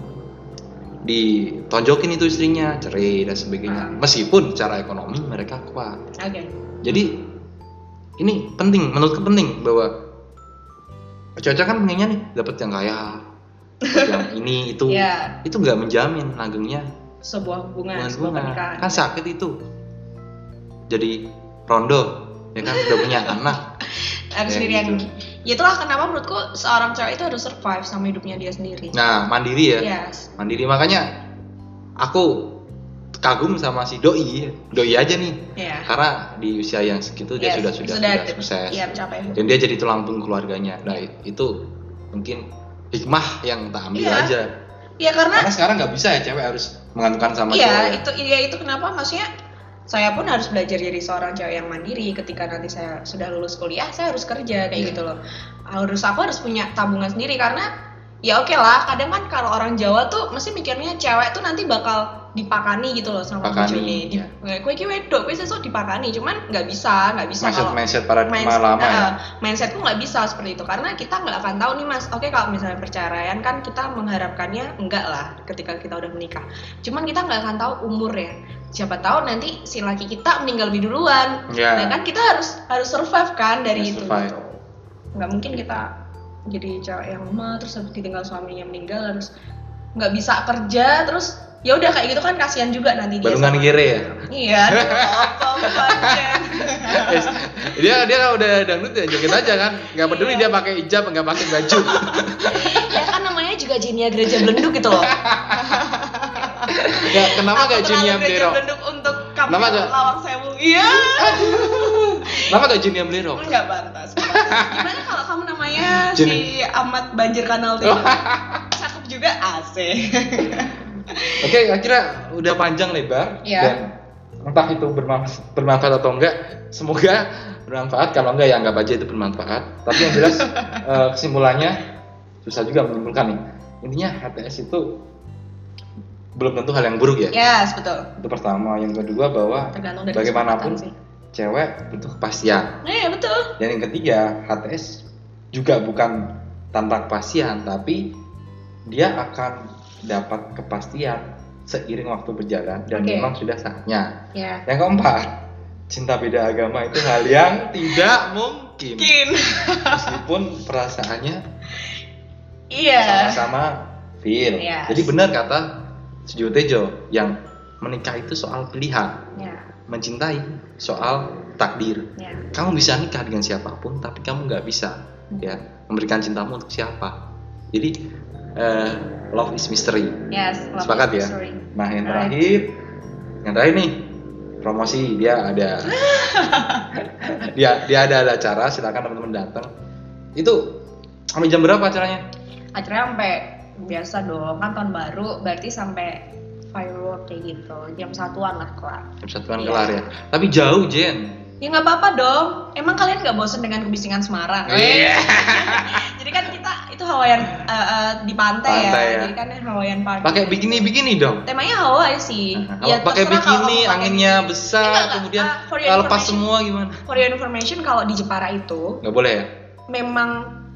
ditonjokin itu istrinya cerai dan sebagainya meskipun secara ekonomi mereka kuat
oke
jadi ini penting menurutku penting bahwa Caca kan pengennya nih dapat yang kaya dapat yang ini itu
ya
itu nggak menjamin langgengnya
sebuah hubungan
bukan
sebuah
bunga
pernikahan
kan sakit itu jadi rondo ya kan udah
(laughs)
punya anak Ya,
harus sendirian
gitu.
ya itulah kenapa menurutku seorang cowok itu harus survive sama hidupnya dia sendiri
nah mandiri ya
yes
mandiri makanya aku kagum sama si doi doi aja nih
ya
karena di usia yang segitu dia
Yes,
sudah sudah
Iya, sudah
sudah sukses
ya mencapai
dan dia jadi tulang punggung keluarganya nah i- itu mungkin hikmah yang tak ambil
Iya.
aja
ya karena
karena sekarang nggak bisa ya cewek harus mengantukan sama cowok ya.
Iya, itu iya itu kenapa maksudnya saya pun harus belajar jadi seorang cewek yang mandiri ketika nanti saya sudah lulus kuliah saya harus kerja kayak
Iya.
gitu loh harus aku harus punya tabungan sendiri karena ya oke lah kadang kan kalau orang Jawa tuh mesti mikirnya cewek tuh nanti bakal dipakani gitu loh sama
Pakani,
bojone. Di-
iya.
kue kue wedok kue sesuk dipakani cuman nggak bisa nggak bisa
mindset
kalau
mindset paradigma
mindset-
lama ya
eh, mindsetku nggak bisa seperti itu karena kita nggak akan tahu nih mas oke kalau misalnya perceraian kan kita mengharapkannya enggak lah ketika kita udah menikah cuman kita nggak akan tahu umur ya siapa tahu nanti si laki kita meninggal lebih duluan
ya
nah kan kita harus harus survive kan dari
harus
itu
survive.
nggak mungkin kita jadi cewek yang lemah terus habis ditinggal suaminya meninggal harus nggak bisa kerja terus ya udah kayak gitu kan kasihan juga nanti dia
balungan
sama-
kiri ya
iya apa apa
Yes. dia dia udah dangdut ya joget aja kan nggak peduli dia pakai hijab nggak pakai baju
ya kan namanya juga Jinia Gereja Belenduk gitu loh.
ya kenapa
Aku
gak
terlalu
Juniam
Gereja
Blero
Belenduk untuk kamu
Kenapa
untuk
gak? Eh.
lawang sewu. Iya.
kenapa gak Juniam Blero
Enggak pantas. Gimana kalau kamu
(laughs)
namanya si
Jini.
Ahmad Banjir Kanal
(laughs)
itu? Cakep juga AC.
Oke, akhirnya udah panjang lebar
Iya.
dan entah itu bermanfaat, bermanfaat atau enggak. Semoga bermanfaat. Kalau enggak ya anggap aja itu bermanfaat. Tapi yang
(laughs)
jelas eh, kesimpulannya susah juga menyimpulkan nih. Intinya HTS itu belum tentu hal yang buruk ya.
yes, betul.
Itu pertama. Yang kedua bahwa
Iya. Tergantung dari
Bagaimanapun.
kesempatan sih.
cewek butuh kepastian.
Iya, betul.
Dan yang ketiga HTS juga bukan tanpa kepastian, tapi dia akan dapat kepastian seiring waktu berjalan dan
Oke.
memang sudah saatnya.
Ya.
Yang keempat, cinta beda agama itu hal yang tidak mungkin. (laughs)
Mungkin.
Meskipun perasaannya
Iya.
sama-sama feel.
Yes.
Jadi benar kata Studio Tejo yang menikah itu soal pilihan,
Ya,
mencintai soal takdir.
ya.
Kamu bisa nikah dengan siapapun, tapi kamu nggak bisa
Hmm.
ya memberikan cintamu untuk siapa. Jadi eh, love is mystery.
Yes, love
Sepakat
is
ya?
sorry.
Nah yang
Alright.
terakhir, yang terakhir nih promosi dia
(laughs)
ada, dia dia ada ada acara silakan teman-teman datang. Itu sampai jam berapa acaranya?
Acaranya sampai biasa dong, kan tahun baru berarti sampai firework kayak gitu. Jam satuan lah kelar.
Jam satuan
Iya.
kelar ya. Tapi jauh Jen.
Ya nggak apa-apa dong. Emang kalian nggak bosen dengan kebisingan Semarang? Eh,
Iya.
Jadi kan kita itu Hawaiian eh, eh, di pantai,
Pantai
ya.
ya.
Jadi kan Hawaiian party.
Pakai bikini bikini dong.
Temanya Hawaii sih. Ya,
Nah, kalau pakai
Iya, terserah kalau
bikini
kamu pakai
anginnya
bikini.
besar,
Eh, nggak, nggak.
kemudian
Ah, for your
kalau lepas
information-
semua gimana?
For your information, kalau di Jepara itu
Nggak boleh ya?
memang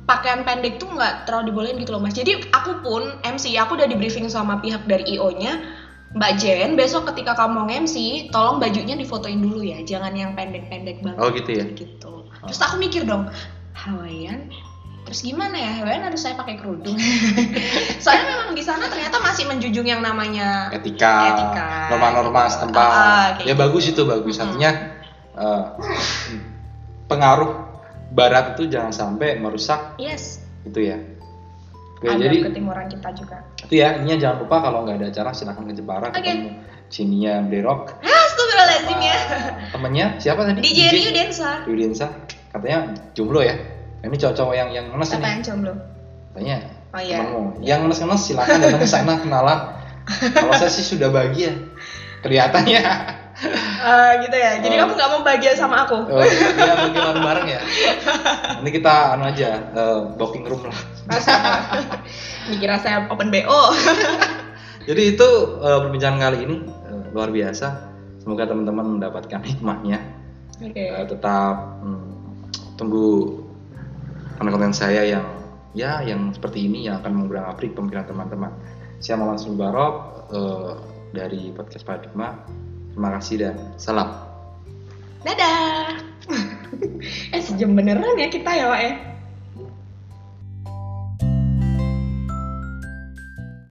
pakaian pendek tuh nggak terlalu dibolehin gitu loh mas. Jadi aku pun MC, aku udah di briefing sama pihak dari IO-nya. Mbak Jen, besok ketika kamu MC, tolong bajunya difotoin dulu ya, jangan yang pendek-pendek banget.
Oh gitu ya.
gitu terus aku mikir dong Hawaiian terus gimana ya Hawaiian harus saya pakai kerudung (laughs) soalnya memang di sana ternyata masih menjunjung yang namanya
Etika,
Etika.
norma-norma setempat.
Ah, kayak
ya
gitu.
bagus itu bagus. Artinya eh, pengaruh Barat itu jangan sampai merusak
yes
itu ya Oke,
Agak
Ya, jadi
ketimuran kita juga.
itu ya intinya jangan lupa kalau nggak ada acara silakan ke Jepara
Oke.
ketemu Cinia Berok
Astagfirullahaladzim
(laughs)
ya.
Eh, temennya siapa tadi
DJ Ryu Densa.
Yudinsa katanya jomblo ya Nah, ini cowok-cowok yang yang ngenes
Siapa
ini
yang jomblo?
katanya
Oh iya.
temenmu yang ngenes ngenes silakan datang ke sana kenalan kalau saya sih sudah bahagia kelihatannya
Eh, gitu ya. Jadi
Oh.
kamu nggak mau bahagia sama
(laughs)
aku?
oh, ya mungkin bareng bareng ya nanti kita anu aja eh, booking room lah
Dikira saya open BO.
Jadi itu eh, perbincangan kali ini eh, luar biasa. Semoga teman-teman mendapatkan hikmahnya.
Oke.
Eh, tetap hmm, tunggu konten-konten saya yang ya yang seperti ini yang akan mengulang abrik pemikiran teman-teman. Saya Maman Sumbarok eh, dari podcast Paradigma. Terima kasih dan salam.
Dadah.
Eh sejam beneran ya kita ya, Wak ya.